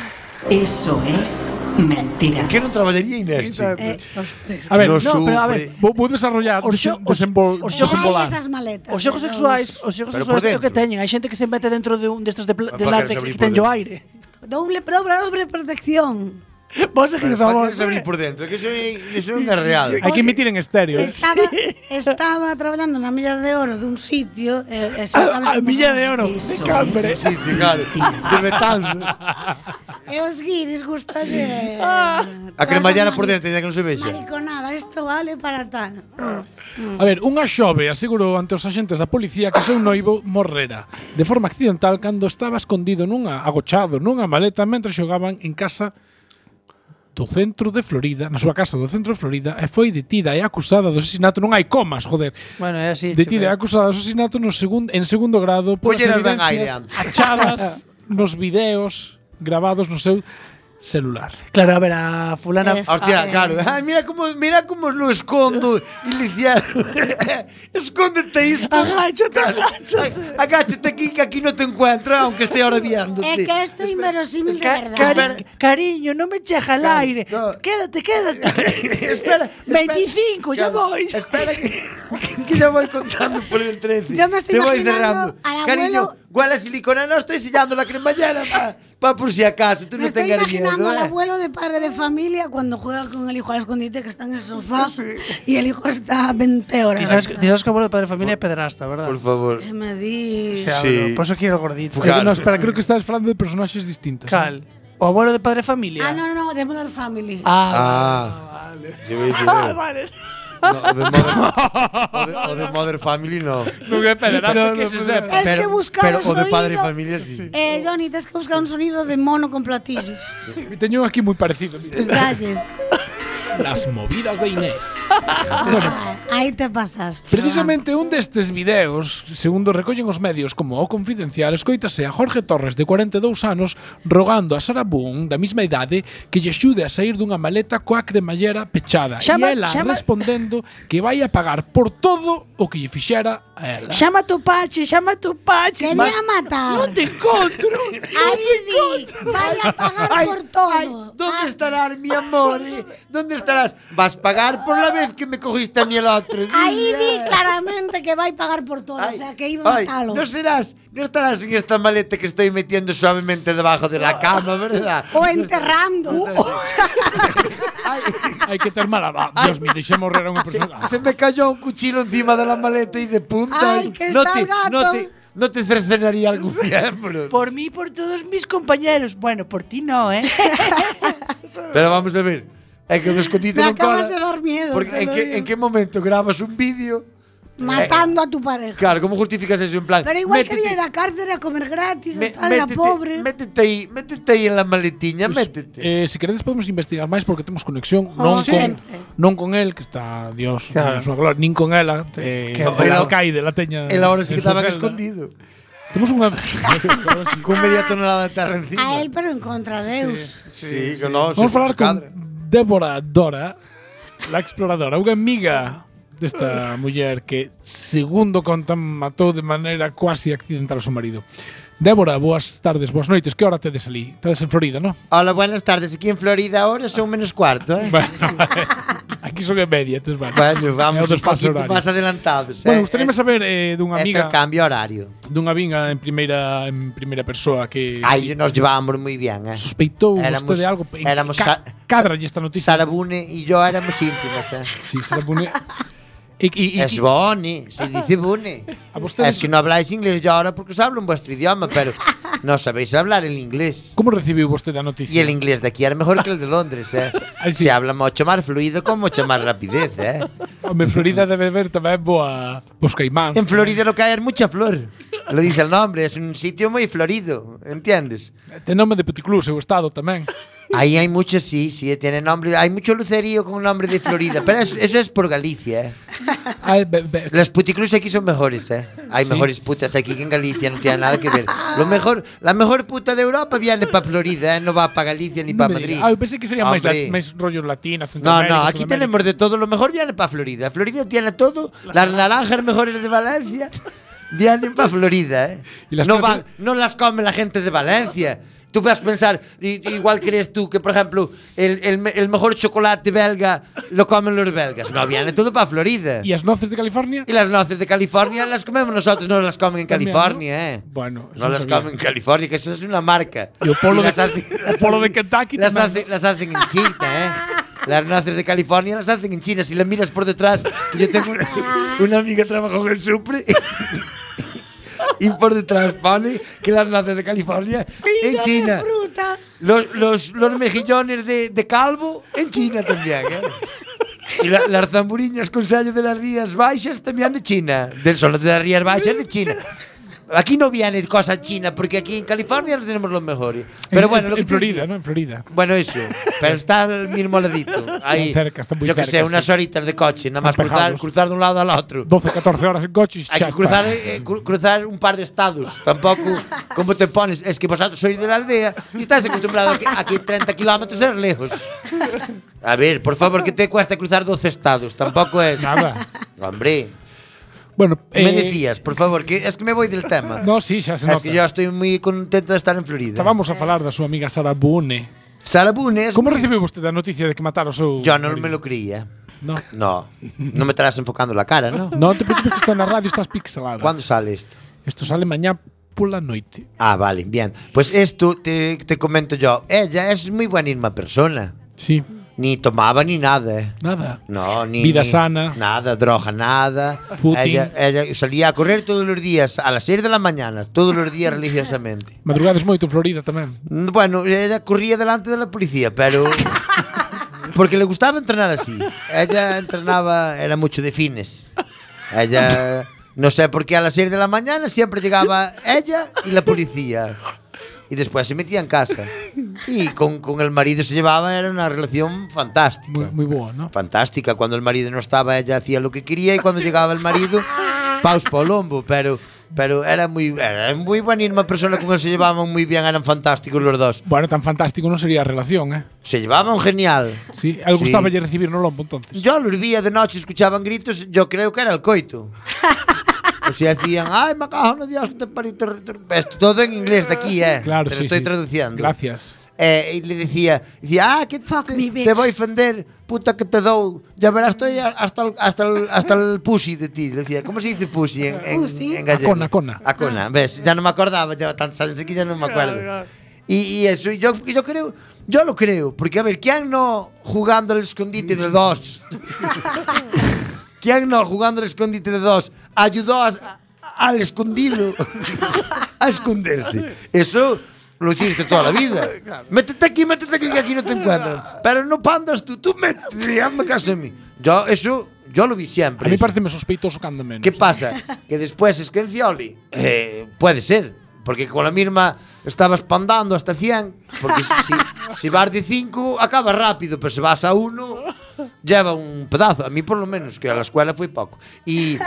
[SPEAKER 10] Eso es mentira.
[SPEAKER 3] Que non traballaría Inés? chico?
[SPEAKER 7] eh, os tres.
[SPEAKER 8] A ver,
[SPEAKER 3] No
[SPEAKER 8] no,
[SPEAKER 2] pero a ver,
[SPEAKER 3] supre.
[SPEAKER 8] vou, vou desarrollar,
[SPEAKER 2] Os xo-
[SPEAKER 8] desen- desenvol,
[SPEAKER 2] os- os xogos-
[SPEAKER 7] Ai,
[SPEAKER 8] desenvolar.
[SPEAKER 7] esas maletas.
[SPEAKER 2] Os xogos
[SPEAKER 7] Dios.
[SPEAKER 2] sexuais, os xogos
[SPEAKER 3] Pero por
[SPEAKER 2] sexuais é o que
[SPEAKER 3] dentro.
[SPEAKER 2] teñen, hai xente que se mete dentro de un destes de, pl- de
[SPEAKER 3] Para
[SPEAKER 2] látex
[SPEAKER 3] que se abrir
[SPEAKER 2] que
[SPEAKER 3] por
[SPEAKER 2] ten o
[SPEAKER 3] dentro.
[SPEAKER 2] aire. *laughs*
[SPEAKER 7] Doble dobra, dobre protección.
[SPEAKER 2] Vos seguir
[SPEAKER 3] Pero
[SPEAKER 2] esa
[SPEAKER 3] para
[SPEAKER 2] voz.
[SPEAKER 3] que se abrir por dentro, que iso é- iso non é real.
[SPEAKER 8] Hai que emitir en estéreo. eh.
[SPEAKER 7] Estaba, estaba traballando na milla de oro dun sitio, e, e xa sabes
[SPEAKER 2] A, a
[SPEAKER 7] como
[SPEAKER 2] ah, milla
[SPEAKER 7] son.
[SPEAKER 2] de oro.
[SPEAKER 10] Eso
[SPEAKER 3] Hombre,
[SPEAKER 10] es
[SPEAKER 3] sí, sí, claro. De metanzas.
[SPEAKER 7] E os guiris gustalle...
[SPEAKER 3] A cremallera por dentro, ainda que non se vexa.
[SPEAKER 7] Mariconada, isto vale para tal.
[SPEAKER 8] Mm. A ver, unha xove asegurou ante os axentes da policía que seu noivo morrera de forma accidental cando estaba escondido nunha agochado nunha maleta mentre xogaban en casa do centro de Florida, na súa casa do centro de Florida, e foi detida e acusada do asesinato, non hai comas, joder.
[SPEAKER 2] Bueno, é así.
[SPEAKER 8] Detida e acusada do asesinato no segundo, en segundo grado polas
[SPEAKER 3] Collera ben aire
[SPEAKER 8] evidencias
[SPEAKER 3] antes. *laughs*
[SPEAKER 8] achadas nos videos grabados no seu celular.
[SPEAKER 2] Claro, a ver, a fulana...
[SPEAKER 7] Es-
[SPEAKER 3] Ah, Hostia,
[SPEAKER 7] Sabe.
[SPEAKER 3] claro. Ay, mira cómo, mira cómo lo escondo. Y le
[SPEAKER 7] *laughs*
[SPEAKER 3] hicieron, Escóndete, hijo.
[SPEAKER 2] Agáchate,
[SPEAKER 3] Ay, agáchate aquí, que aquí no te encuentro, aunque esté ahora viéndote.
[SPEAKER 7] É que isto é inverosímil de
[SPEAKER 2] Ca-
[SPEAKER 7] verdade.
[SPEAKER 2] cari- cariño, non me cheja al aire.
[SPEAKER 3] no.
[SPEAKER 2] Quédate, quédate.
[SPEAKER 3] *laughs* *laughs* espera, espera.
[SPEAKER 2] 25, ya
[SPEAKER 3] Claro,
[SPEAKER 2] voy.
[SPEAKER 3] Espera que, *laughs* que ya voy contando por el 13.
[SPEAKER 7] Yo me estoy
[SPEAKER 3] Te voy
[SPEAKER 7] imaginando
[SPEAKER 3] cerrando.
[SPEAKER 7] al abuelo-
[SPEAKER 3] Cariño, guarda silicona, no estoy sellando la cremallera, pa, pa por si acaso, tú
[SPEAKER 7] Me
[SPEAKER 3] no
[SPEAKER 7] estoy
[SPEAKER 3] tengas
[SPEAKER 7] imaginando
[SPEAKER 3] miedo.
[SPEAKER 7] al
[SPEAKER 3] ¿eh?
[SPEAKER 7] abuelo de padre de familia cuando juega con el hijo al escondite que está en el sofá y el hijo está a 20 horas.
[SPEAKER 2] Ti sabes, que- ti sabes que o abuelo de padre de familia é pedrasta, verdad?
[SPEAKER 3] Por favor.
[SPEAKER 7] ¿Qué me dices?
[SPEAKER 2] Se abro.
[SPEAKER 3] Sí.
[SPEAKER 2] Por eso quiero el gordito.
[SPEAKER 3] Claro.
[SPEAKER 8] No, espera, creo que estás falando de personaxes eh. distintas.
[SPEAKER 2] Cal. O abuelo de padre de familia.
[SPEAKER 7] Ah, no, no, de Modern Family.
[SPEAKER 2] Ah,
[SPEAKER 3] Ah, yo voy a decir,
[SPEAKER 2] ah, vale.
[SPEAKER 3] no, o de *laughs* Mother- o de- o de Mother Family no.
[SPEAKER 8] Non é pederasta que se sepa.
[SPEAKER 7] es que buscar
[SPEAKER 3] pero
[SPEAKER 7] un
[SPEAKER 3] o de
[SPEAKER 7] sonido.
[SPEAKER 3] padre y familia sí.
[SPEAKER 7] Eh, Johnny, tienes que buscar un sonido de mono con
[SPEAKER 3] *laughs*
[SPEAKER 7] platillos.
[SPEAKER 8] Teño aquí moi parecido. Mira.
[SPEAKER 7] Pues dalle.
[SPEAKER 8] Las movidas de Inés.
[SPEAKER 7] Ah, Ahí te pasaste.
[SPEAKER 8] Precisamente un destes videos, segundo recollen os medios como o Confidencial, escoítase a Jorge Torres, de 42 anos, rogando a Sara Boone, da mesma idade, que lle xude a sair dunha maleta coa cremallera pechada.
[SPEAKER 2] Chama-
[SPEAKER 8] e ela
[SPEAKER 2] chama-
[SPEAKER 8] respondendo que vai a pagar por todo o que lle fixera a ela.
[SPEAKER 2] Llama a tu pache, llama a tu pache.
[SPEAKER 7] Quería
[SPEAKER 2] Vas-
[SPEAKER 7] matar.
[SPEAKER 2] No te encontro.
[SPEAKER 7] Ahí di, vaya a pagar por todo.
[SPEAKER 3] ay,
[SPEAKER 7] Ah,
[SPEAKER 3] ¿Dónde estarás, mi amor? eh? ¿Dónde estarás? ¿Vas a pagar por la vez que me cogiste a mí el otro día?
[SPEAKER 7] Ahí di claramente que va a pagar por todo,
[SPEAKER 3] Ay,
[SPEAKER 7] o sea, que iba a
[SPEAKER 3] ay,
[SPEAKER 7] matarlo.
[SPEAKER 3] no serás, no estarás en esta maleta que estoy metiendo suavemente debajo de la cama, ¿verdad?
[SPEAKER 7] *laughs* o enterrando.
[SPEAKER 3] Ay,
[SPEAKER 8] Hai que ter mala... va- Dios mío, deixe morrer a unha persona.
[SPEAKER 3] se me cayó un cuchillo encima de la maleta y de punta.
[SPEAKER 7] Ay, que está
[SPEAKER 3] te,
[SPEAKER 7] el gato.
[SPEAKER 3] no te, no te cercenaría algún *laughs* miembro.
[SPEAKER 2] Por mí y por todos mis compañeros. Bueno, por ti no, ¿eh?
[SPEAKER 3] Pero vamos a
[SPEAKER 7] *laughs*
[SPEAKER 3] ver. É que o do escondite
[SPEAKER 7] Me
[SPEAKER 3] non
[SPEAKER 7] acabas
[SPEAKER 3] cola,
[SPEAKER 7] de dar miedo,
[SPEAKER 3] Porque
[SPEAKER 7] te
[SPEAKER 3] en
[SPEAKER 7] lo
[SPEAKER 3] que,
[SPEAKER 7] digo.
[SPEAKER 3] en que momento grabas un vídeo
[SPEAKER 7] *laughs* matando a tu pareja.
[SPEAKER 11] Claro, ¿cómo justificas eso? En plan,
[SPEAKER 7] Pero igual
[SPEAKER 11] métete-
[SPEAKER 7] quería ir a la cárcel a comer gratis,
[SPEAKER 11] me-
[SPEAKER 7] estar en la
[SPEAKER 11] métete-
[SPEAKER 7] pobre.
[SPEAKER 11] Métete ahí, métete aí en la maletiña,
[SPEAKER 8] Pois,
[SPEAKER 11] métete.
[SPEAKER 8] Eh, se queredes podemos investigar máis porque temos conexión
[SPEAKER 7] Oh,
[SPEAKER 8] non con
[SPEAKER 7] sempre.
[SPEAKER 8] non con el que está Dios
[SPEAKER 12] Claro.
[SPEAKER 8] claro. súa gloria, nin con ela, eh,
[SPEAKER 11] Que
[SPEAKER 8] que
[SPEAKER 11] el
[SPEAKER 8] el
[SPEAKER 11] ao-
[SPEAKER 8] alcaide la teña.
[SPEAKER 11] El ahora sí
[SPEAKER 8] en
[SPEAKER 11] que estaba
[SPEAKER 8] súa celda.
[SPEAKER 11] escondido.
[SPEAKER 8] Temos
[SPEAKER 11] *laughs*
[SPEAKER 8] unha
[SPEAKER 11] Con media tonelada de terra encima.
[SPEAKER 7] A él, pero en contra de Deus.
[SPEAKER 11] Sí, que no, se-
[SPEAKER 8] Vamos
[SPEAKER 11] se
[SPEAKER 8] falar con
[SPEAKER 11] cadra.
[SPEAKER 8] Débora Dora, la exploradora, unha amiga desta muller que, segundo contan, matou de maneira quasi accidental o seu marido. Débora, boas tardes, boas noites. Que hora tedes ali? Tedes en Florida, non?
[SPEAKER 3] Hola, buenas tardes. Aquí en Florida ahora son menos cuarto, ¿eh?
[SPEAKER 8] *laughs* Bueno, aquí son en media, entonces vale.
[SPEAKER 3] Bueno, vamos
[SPEAKER 8] É o
[SPEAKER 3] un
[SPEAKER 8] desfase
[SPEAKER 3] poquito
[SPEAKER 8] horario.
[SPEAKER 3] más adelantados.
[SPEAKER 8] Bueno,
[SPEAKER 3] eh.
[SPEAKER 8] gustaríame
[SPEAKER 3] Es-
[SPEAKER 8] saber eh, dunha
[SPEAKER 3] es el
[SPEAKER 8] amiga
[SPEAKER 3] cambio horario.
[SPEAKER 8] dunha amiga en primeira en primeira persoa que
[SPEAKER 3] Ahí nos llevábamos muy bien, ¿eh?
[SPEAKER 8] sospeitou
[SPEAKER 3] Éramos-
[SPEAKER 8] vostede algo en-
[SPEAKER 3] éramos
[SPEAKER 8] ca-
[SPEAKER 3] sa-
[SPEAKER 8] cádralle esta noticia.
[SPEAKER 3] Sarabune y yo éramos íntimos, ¿eh?
[SPEAKER 8] Sí, se la
[SPEAKER 3] *laughs*
[SPEAKER 8] pone e, e, e,
[SPEAKER 3] Es Boni, se dice Boni.
[SPEAKER 8] a
[SPEAKER 3] Es
[SPEAKER 8] vostedes
[SPEAKER 3] que no habláis inglés yo ahora porque os hablo en vuestro idioma,
[SPEAKER 8] *laughs*
[SPEAKER 3] pero no sabéis hablar el inglés.
[SPEAKER 8] como recibiu vostede a noticia?
[SPEAKER 3] Y E el inglés de aquí era mejor que el de Londres, ¿eh?
[SPEAKER 8] *laughs* Ay, sí.
[SPEAKER 3] Se habla mucho más fluido con mucha más rapidez, ¿eh?
[SPEAKER 8] Home, Florida debe ver tamén boa os caimáns.
[SPEAKER 3] En Florida lo que hay es mucha flor. Lo dice el nombre, es un sitio muy florido, ¿entiendes?
[SPEAKER 8] Ten nome de Puticlú, seu estado
[SPEAKER 3] *laughs*
[SPEAKER 8] tamén.
[SPEAKER 3] Ahí hay mucho, sí, sí, tiene nombre. Hay mucho lucerío con nombre de Florida, pero es- eso es por Galicia, ¿eh?
[SPEAKER 8] Ai, be, be,
[SPEAKER 3] Las puticlus aquí son mejores, ¿eh? Hay
[SPEAKER 8] Sí.
[SPEAKER 3] mejores putas aquí que en Galicia, no tiene nada que ver. Lo mejor, la mejor puta de Europa viene para Florida, ¿eh? No va para Galicia ni
[SPEAKER 8] non
[SPEAKER 3] para
[SPEAKER 8] me
[SPEAKER 3] Madrid.
[SPEAKER 8] diga. Ah, eu pensei que serían máis,
[SPEAKER 3] Hombre.
[SPEAKER 8] la- máis rollos latinos,
[SPEAKER 3] No, no, aquí tenemos de todo. Lo mejor viene para Florida. Florida tiene todo. Las naranjas mejores de
[SPEAKER 8] *laughs*
[SPEAKER 3] Valencia vienen para Florida, ¿eh?
[SPEAKER 8] Y las
[SPEAKER 3] no,
[SPEAKER 8] clases-
[SPEAKER 3] van- no las come la gente de Valencia. Tú vas a pensar, i- igual crees tú que, por ejemplo, el, el me- el mejor chocolate belga lo comen los belgas. No, viene todo para Florida.
[SPEAKER 8] E as noces de California?
[SPEAKER 3] Y las nueces de California las comemos nosotros, no las comen en
[SPEAKER 8] También,
[SPEAKER 3] California, ¿eh?
[SPEAKER 8] ¿no? Bueno, eso
[SPEAKER 3] no
[SPEAKER 8] no
[SPEAKER 3] las
[SPEAKER 8] sabía.
[SPEAKER 3] comen en California, que eso es una marca.
[SPEAKER 8] Y el polo de-
[SPEAKER 3] las hacen-
[SPEAKER 8] *laughs* el
[SPEAKER 3] las
[SPEAKER 8] polo de
[SPEAKER 3] hacen-
[SPEAKER 8] Kentucky
[SPEAKER 3] Las,
[SPEAKER 8] también.
[SPEAKER 3] hacen- las hacen en China, ¿eh? Las nueces de California las hacen en China. Si las miras por detrás, yo tengo una, una amiga que trabaja en el Supre. *laughs* Y por detrás pone que las nueces de California en
[SPEAKER 7] Pilo
[SPEAKER 3] China.
[SPEAKER 7] de fruta.
[SPEAKER 3] Los, los, los mejillones de, de calvo en China también, ¿eh? Y la- las zamburiñas con sallo de las Rías Baixas también de China. Del solo de las Rías Baixas de China. Aquí no viene cosa china, porque aquí en California no tenemos los mejores. Pero
[SPEAKER 8] En-
[SPEAKER 3] bueno,
[SPEAKER 8] en,
[SPEAKER 3] lo que
[SPEAKER 8] en
[SPEAKER 3] te
[SPEAKER 8] Florida,
[SPEAKER 3] decía-
[SPEAKER 8] non? En Florida.
[SPEAKER 3] Bueno, eso. Pero está al mismo ladito. Ahí.
[SPEAKER 8] Están cerca, están muy
[SPEAKER 3] yo que sé,
[SPEAKER 8] cerca,
[SPEAKER 3] unas
[SPEAKER 8] sí.
[SPEAKER 3] horitas de coche, nada más
[SPEAKER 8] Están
[SPEAKER 3] cruzar,
[SPEAKER 8] pegados.
[SPEAKER 3] cruzar de un lado al otro.
[SPEAKER 8] 12, 14 horas en coches,
[SPEAKER 3] Hay
[SPEAKER 8] xa
[SPEAKER 3] que
[SPEAKER 8] está.
[SPEAKER 3] cruzar, eh, cru- cruzar un par de estados. Tampoco, como te pones? Es que vosotros sois de la aldea y estás acostumbrado a que, a que 30 kilómetros es lejos. A ver, por favor, ¿qué te cuesta cruzar 12 estados? Tampoco es.
[SPEAKER 8] Nada.
[SPEAKER 3] Hombre,
[SPEAKER 8] Bueno,
[SPEAKER 3] me
[SPEAKER 8] eh,
[SPEAKER 3] decías, por favor, que es que me voy del tema.
[SPEAKER 8] No, sí, xa se
[SPEAKER 3] es
[SPEAKER 8] nota.
[SPEAKER 3] que yo estoy muy contento de estar en Florida.
[SPEAKER 8] Estábamos a falar da súa amiga Sara Bune.
[SPEAKER 3] Sara Bunes.
[SPEAKER 8] Como recibiu vostede a noticia de que mataron o seu
[SPEAKER 3] Yo no
[SPEAKER 8] marido?
[SPEAKER 3] me lo creía.
[SPEAKER 8] No.
[SPEAKER 3] No, no me estarás enfocando la cara, ¿no?
[SPEAKER 8] Non te preocupes que está na radio, estás pixelada.
[SPEAKER 3] ¿Cuándo sale esto?
[SPEAKER 8] Isto sale mañá pola noite.
[SPEAKER 3] Ah, vale, bien. Pues esto te, te comento yo. Ella es muy buenísima persona.
[SPEAKER 8] Sí,
[SPEAKER 3] Ni tomaba ni nada, eh.
[SPEAKER 8] nada.
[SPEAKER 3] No, ni.
[SPEAKER 8] Vida
[SPEAKER 3] ni-
[SPEAKER 8] sana.
[SPEAKER 3] Nada, droga, nada.
[SPEAKER 8] Footing.
[SPEAKER 3] Ella, ella salía a correr todos los días, a las 6 de la mañana, todos los días religiosamente.
[SPEAKER 8] Madrugades moito en Florida tamén.
[SPEAKER 3] Mm, Bueno, ella corría delante de la policía, pero. Porque le gustaba entrenar así. Ella entrenaba, era mucho de fines. Ella. No sé por qué a las 6 de la mañana siempre llegaba ella y la policía. Y después se metía en casa. Y con, con el marido se llevaba, era una relación fantástica.
[SPEAKER 8] Moi, moi boa, non?
[SPEAKER 3] Fantástica, cuando el marido no estaba ella hacía lo que quería y cuando llegaba el marido, paus polombo, pero pero era muy era muy buenísima persona con él se llevaban muy bien, eran fantásticos los dos.
[SPEAKER 8] Bueno, tan fantástico non sería a relación, eh?
[SPEAKER 3] Se llevaban genial.
[SPEAKER 8] Sí, algo
[SPEAKER 3] Sí.
[SPEAKER 8] gustaba lle recibir no lombo, entonces.
[SPEAKER 3] Yo los vía de noche, escuchaban gritos, yo creo que era el coito. O sea, decían, ay, me cago en Dios, que te parí, te- te-". Esto todo en inglés de aquí, ¿eh?
[SPEAKER 8] Claro,
[SPEAKER 3] te lo
[SPEAKER 8] sí,
[SPEAKER 3] estoy
[SPEAKER 8] sí.
[SPEAKER 3] traduciendo.
[SPEAKER 8] Gracias.
[SPEAKER 3] Eh, y le decía, decía, ah, que
[SPEAKER 7] Fuck
[SPEAKER 3] te,
[SPEAKER 7] me,
[SPEAKER 3] te
[SPEAKER 7] bitch.
[SPEAKER 3] voy a ofender, puta que te doy. Ya verás, estoy hasta el, hasta el, hasta el pussy de ti. Le decía, ¿cómo se dice pussy en, en,
[SPEAKER 7] Pussy.
[SPEAKER 3] en gallego?
[SPEAKER 8] Acona, acona.
[SPEAKER 3] Acona, ves, ya no me acordaba, ya tan sabes que ya no me acuerdo. Y, y eso, y yo, y yo creo, yo lo creo, porque a ver, ¿quién no jugando al escondite de dos? ¿Quién no jugando al escondite de dos ayudó a- a- al escondido *laughs* a esconderse? Eso lo hiciste toda la vida. Métete aquí, métete aquí, que aquí no te encuentran. Pero no pandas tú, tú métete, hazme caso a mí. Yo, eso Yo lo vi siempre.
[SPEAKER 8] A mí
[SPEAKER 3] eso.
[SPEAKER 8] pareceme sospeitoso cando menos.
[SPEAKER 3] ¿Qué pasa? Que después Esquencioli eh, puede ser, porque con la misma estabas pandando hasta 100, porque si, si vas de 5 acaba rápido, pero si vas a 1 lleva un pedazo, a mí por lo menos, que a la escuela fui poco. Y,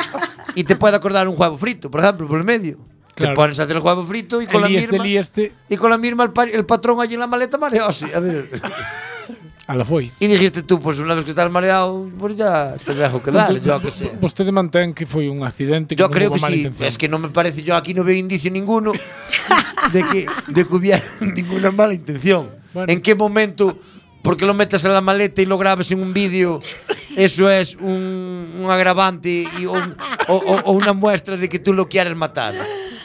[SPEAKER 3] y te puede acordar un huevo frito, por ejemplo, por el medio.
[SPEAKER 8] Claro.
[SPEAKER 3] Te pones a hacer el huevo frito y con,
[SPEAKER 8] El
[SPEAKER 3] la
[SPEAKER 8] este,
[SPEAKER 3] misma,
[SPEAKER 8] el este.
[SPEAKER 3] y con la misma el, pa- el patrón allí en la maleta mareóse. A ver.
[SPEAKER 8] *laughs* A la foi.
[SPEAKER 3] Y dijiste tú, pues una vez que estás mareado, pues ya te dejo quedar, yo que sé.
[SPEAKER 8] Vostede mantén que foi un accidente que
[SPEAKER 3] Yo
[SPEAKER 8] non
[SPEAKER 3] creo que
[SPEAKER 8] hubo mala
[SPEAKER 3] sí.
[SPEAKER 8] intención.
[SPEAKER 3] Es que no me parece, yo aquí no veo indicio ninguno de
[SPEAKER 8] *laughs*
[SPEAKER 3] que, de que hubiera ninguna mala intención.
[SPEAKER 8] Bueno.
[SPEAKER 3] ¿En qué momento, porque lo metas en la maleta y lo grabes en un vídeo, eso es un, un agravante y un- o, o- o una muestra de que tú lo quieres matar?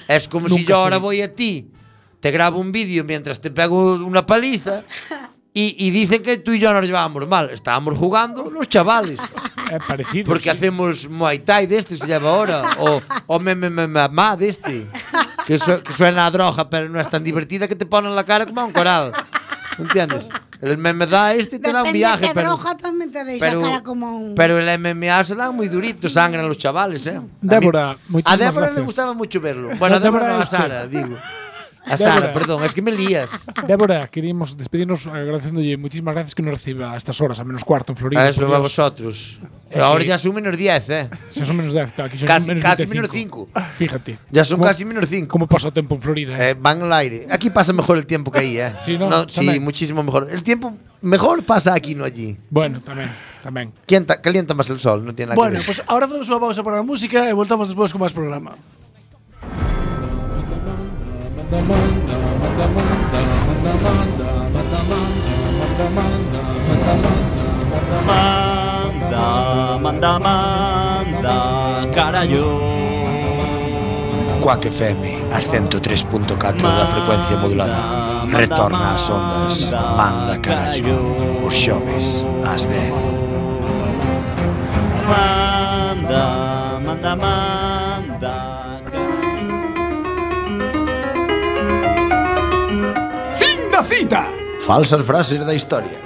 [SPEAKER 3] Es como si
[SPEAKER 8] Nunca
[SPEAKER 3] yo ahora
[SPEAKER 8] fui.
[SPEAKER 3] voy a ti, te grabo un vídeo mientras te pego una paliza. Y, y dicen que tú y yo nos llevábamos mal. Estábamos jugando los chavales.
[SPEAKER 8] É parecido.
[SPEAKER 3] Porque
[SPEAKER 8] Pues sí.
[SPEAKER 3] hacemos Muay Thai de este, se llama ahora. O, o me, me, me, mamá de este. Que, su- que suena a droga, pero no es tan divertida que te ponen la cara como a un coral. ¿Entiendes? El MMA este te da un
[SPEAKER 7] Depende
[SPEAKER 3] viaje,
[SPEAKER 7] que
[SPEAKER 3] pero.
[SPEAKER 7] droga tamén te deixa
[SPEAKER 3] Pero,
[SPEAKER 7] cara como un...
[SPEAKER 3] pero el MMA se da muy durito, sangran los chavales, ¿eh? A mí-
[SPEAKER 8] Débora,
[SPEAKER 3] a
[SPEAKER 8] muchísimas
[SPEAKER 3] Débora le
[SPEAKER 8] gracias.
[SPEAKER 3] gustaba mucho verlo. Bueno, a Débora,
[SPEAKER 8] Débora
[SPEAKER 3] no, a
[SPEAKER 8] este.
[SPEAKER 3] Sara, digo. A
[SPEAKER 8] Débora.
[SPEAKER 3] Sara, perdón, es que me lías.
[SPEAKER 8] Débora, queríamos despedirnos agradeciéndolle muchísimas gracias que nos reciba a estas horas, a menos cuarto en Florida.
[SPEAKER 3] A eso
[SPEAKER 8] por
[SPEAKER 3] va a
[SPEAKER 8] Dios.
[SPEAKER 3] vosotros.
[SPEAKER 8] Eh,
[SPEAKER 3] Ahora
[SPEAKER 8] sí.
[SPEAKER 3] ya son menos 10, ¿eh?
[SPEAKER 8] Se son menos 10, claro, aquí son
[SPEAKER 3] Casi-
[SPEAKER 8] menos
[SPEAKER 3] casi
[SPEAKER 8] 25.
[SPEAKER 3] menos cinco.
[SPEAKER 8] Fíjate.
[SPEAKER 3] Ya son
[SPEAKER 8] Como-
[SPEAKER 3] casi menos 5.
[SPEAKER 8] Como pasó o tempo en Florida. eh?
[SPEAKER 3] Eh, van al aire. Aquí pasa mejor el tiempo que ahí, ¿eh?
[SPEAKER 8] Sí, ¿no?
[SPEAKER 3] sí,
[SPEAKER 8] También.
[SPEAKER 3] muchísimo mejor. El tiempo mejor pasa aquí, no allí.
[SPEAKER 8] Bueno, tamén, tamén.
[SPEAKER 3] ¿Quién ta- calienta más el sol? No tiene nada
[SPEAKER 2] Bueno,
[SPEAKER 3] que ver.
[SPEAKER 2] pues ahora hacemos una pausa para la música y voltamos después con más programa.
[SPEAKER 13] Manda, manda, manda, carallo.
[SPEAKER 14] Quack FM, a 103.4 da frecuencia modulada. Retorna ás ondas, manda carallo, os xoves, ás 10.
[SPEAKER 13] Manda, manda, manda, carallo.
[SPEAKER 15] Fin da cita.
[SPEAKER 14] Falsas frases da historia.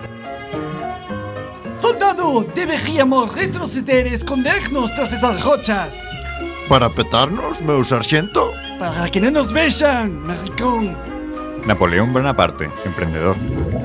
[SPEAKER 2] Soldado, deberíamos retroceder y escondernos tras esas rochas.
[SPEAKER 16] Para petarnos, meu sarxento?
[SPEAKER 2] Para que no nos vean, maricón.
[SPEAKER 6] Napoleón Bonaparte, emprendedor.
[SPEAKER 1] Eh,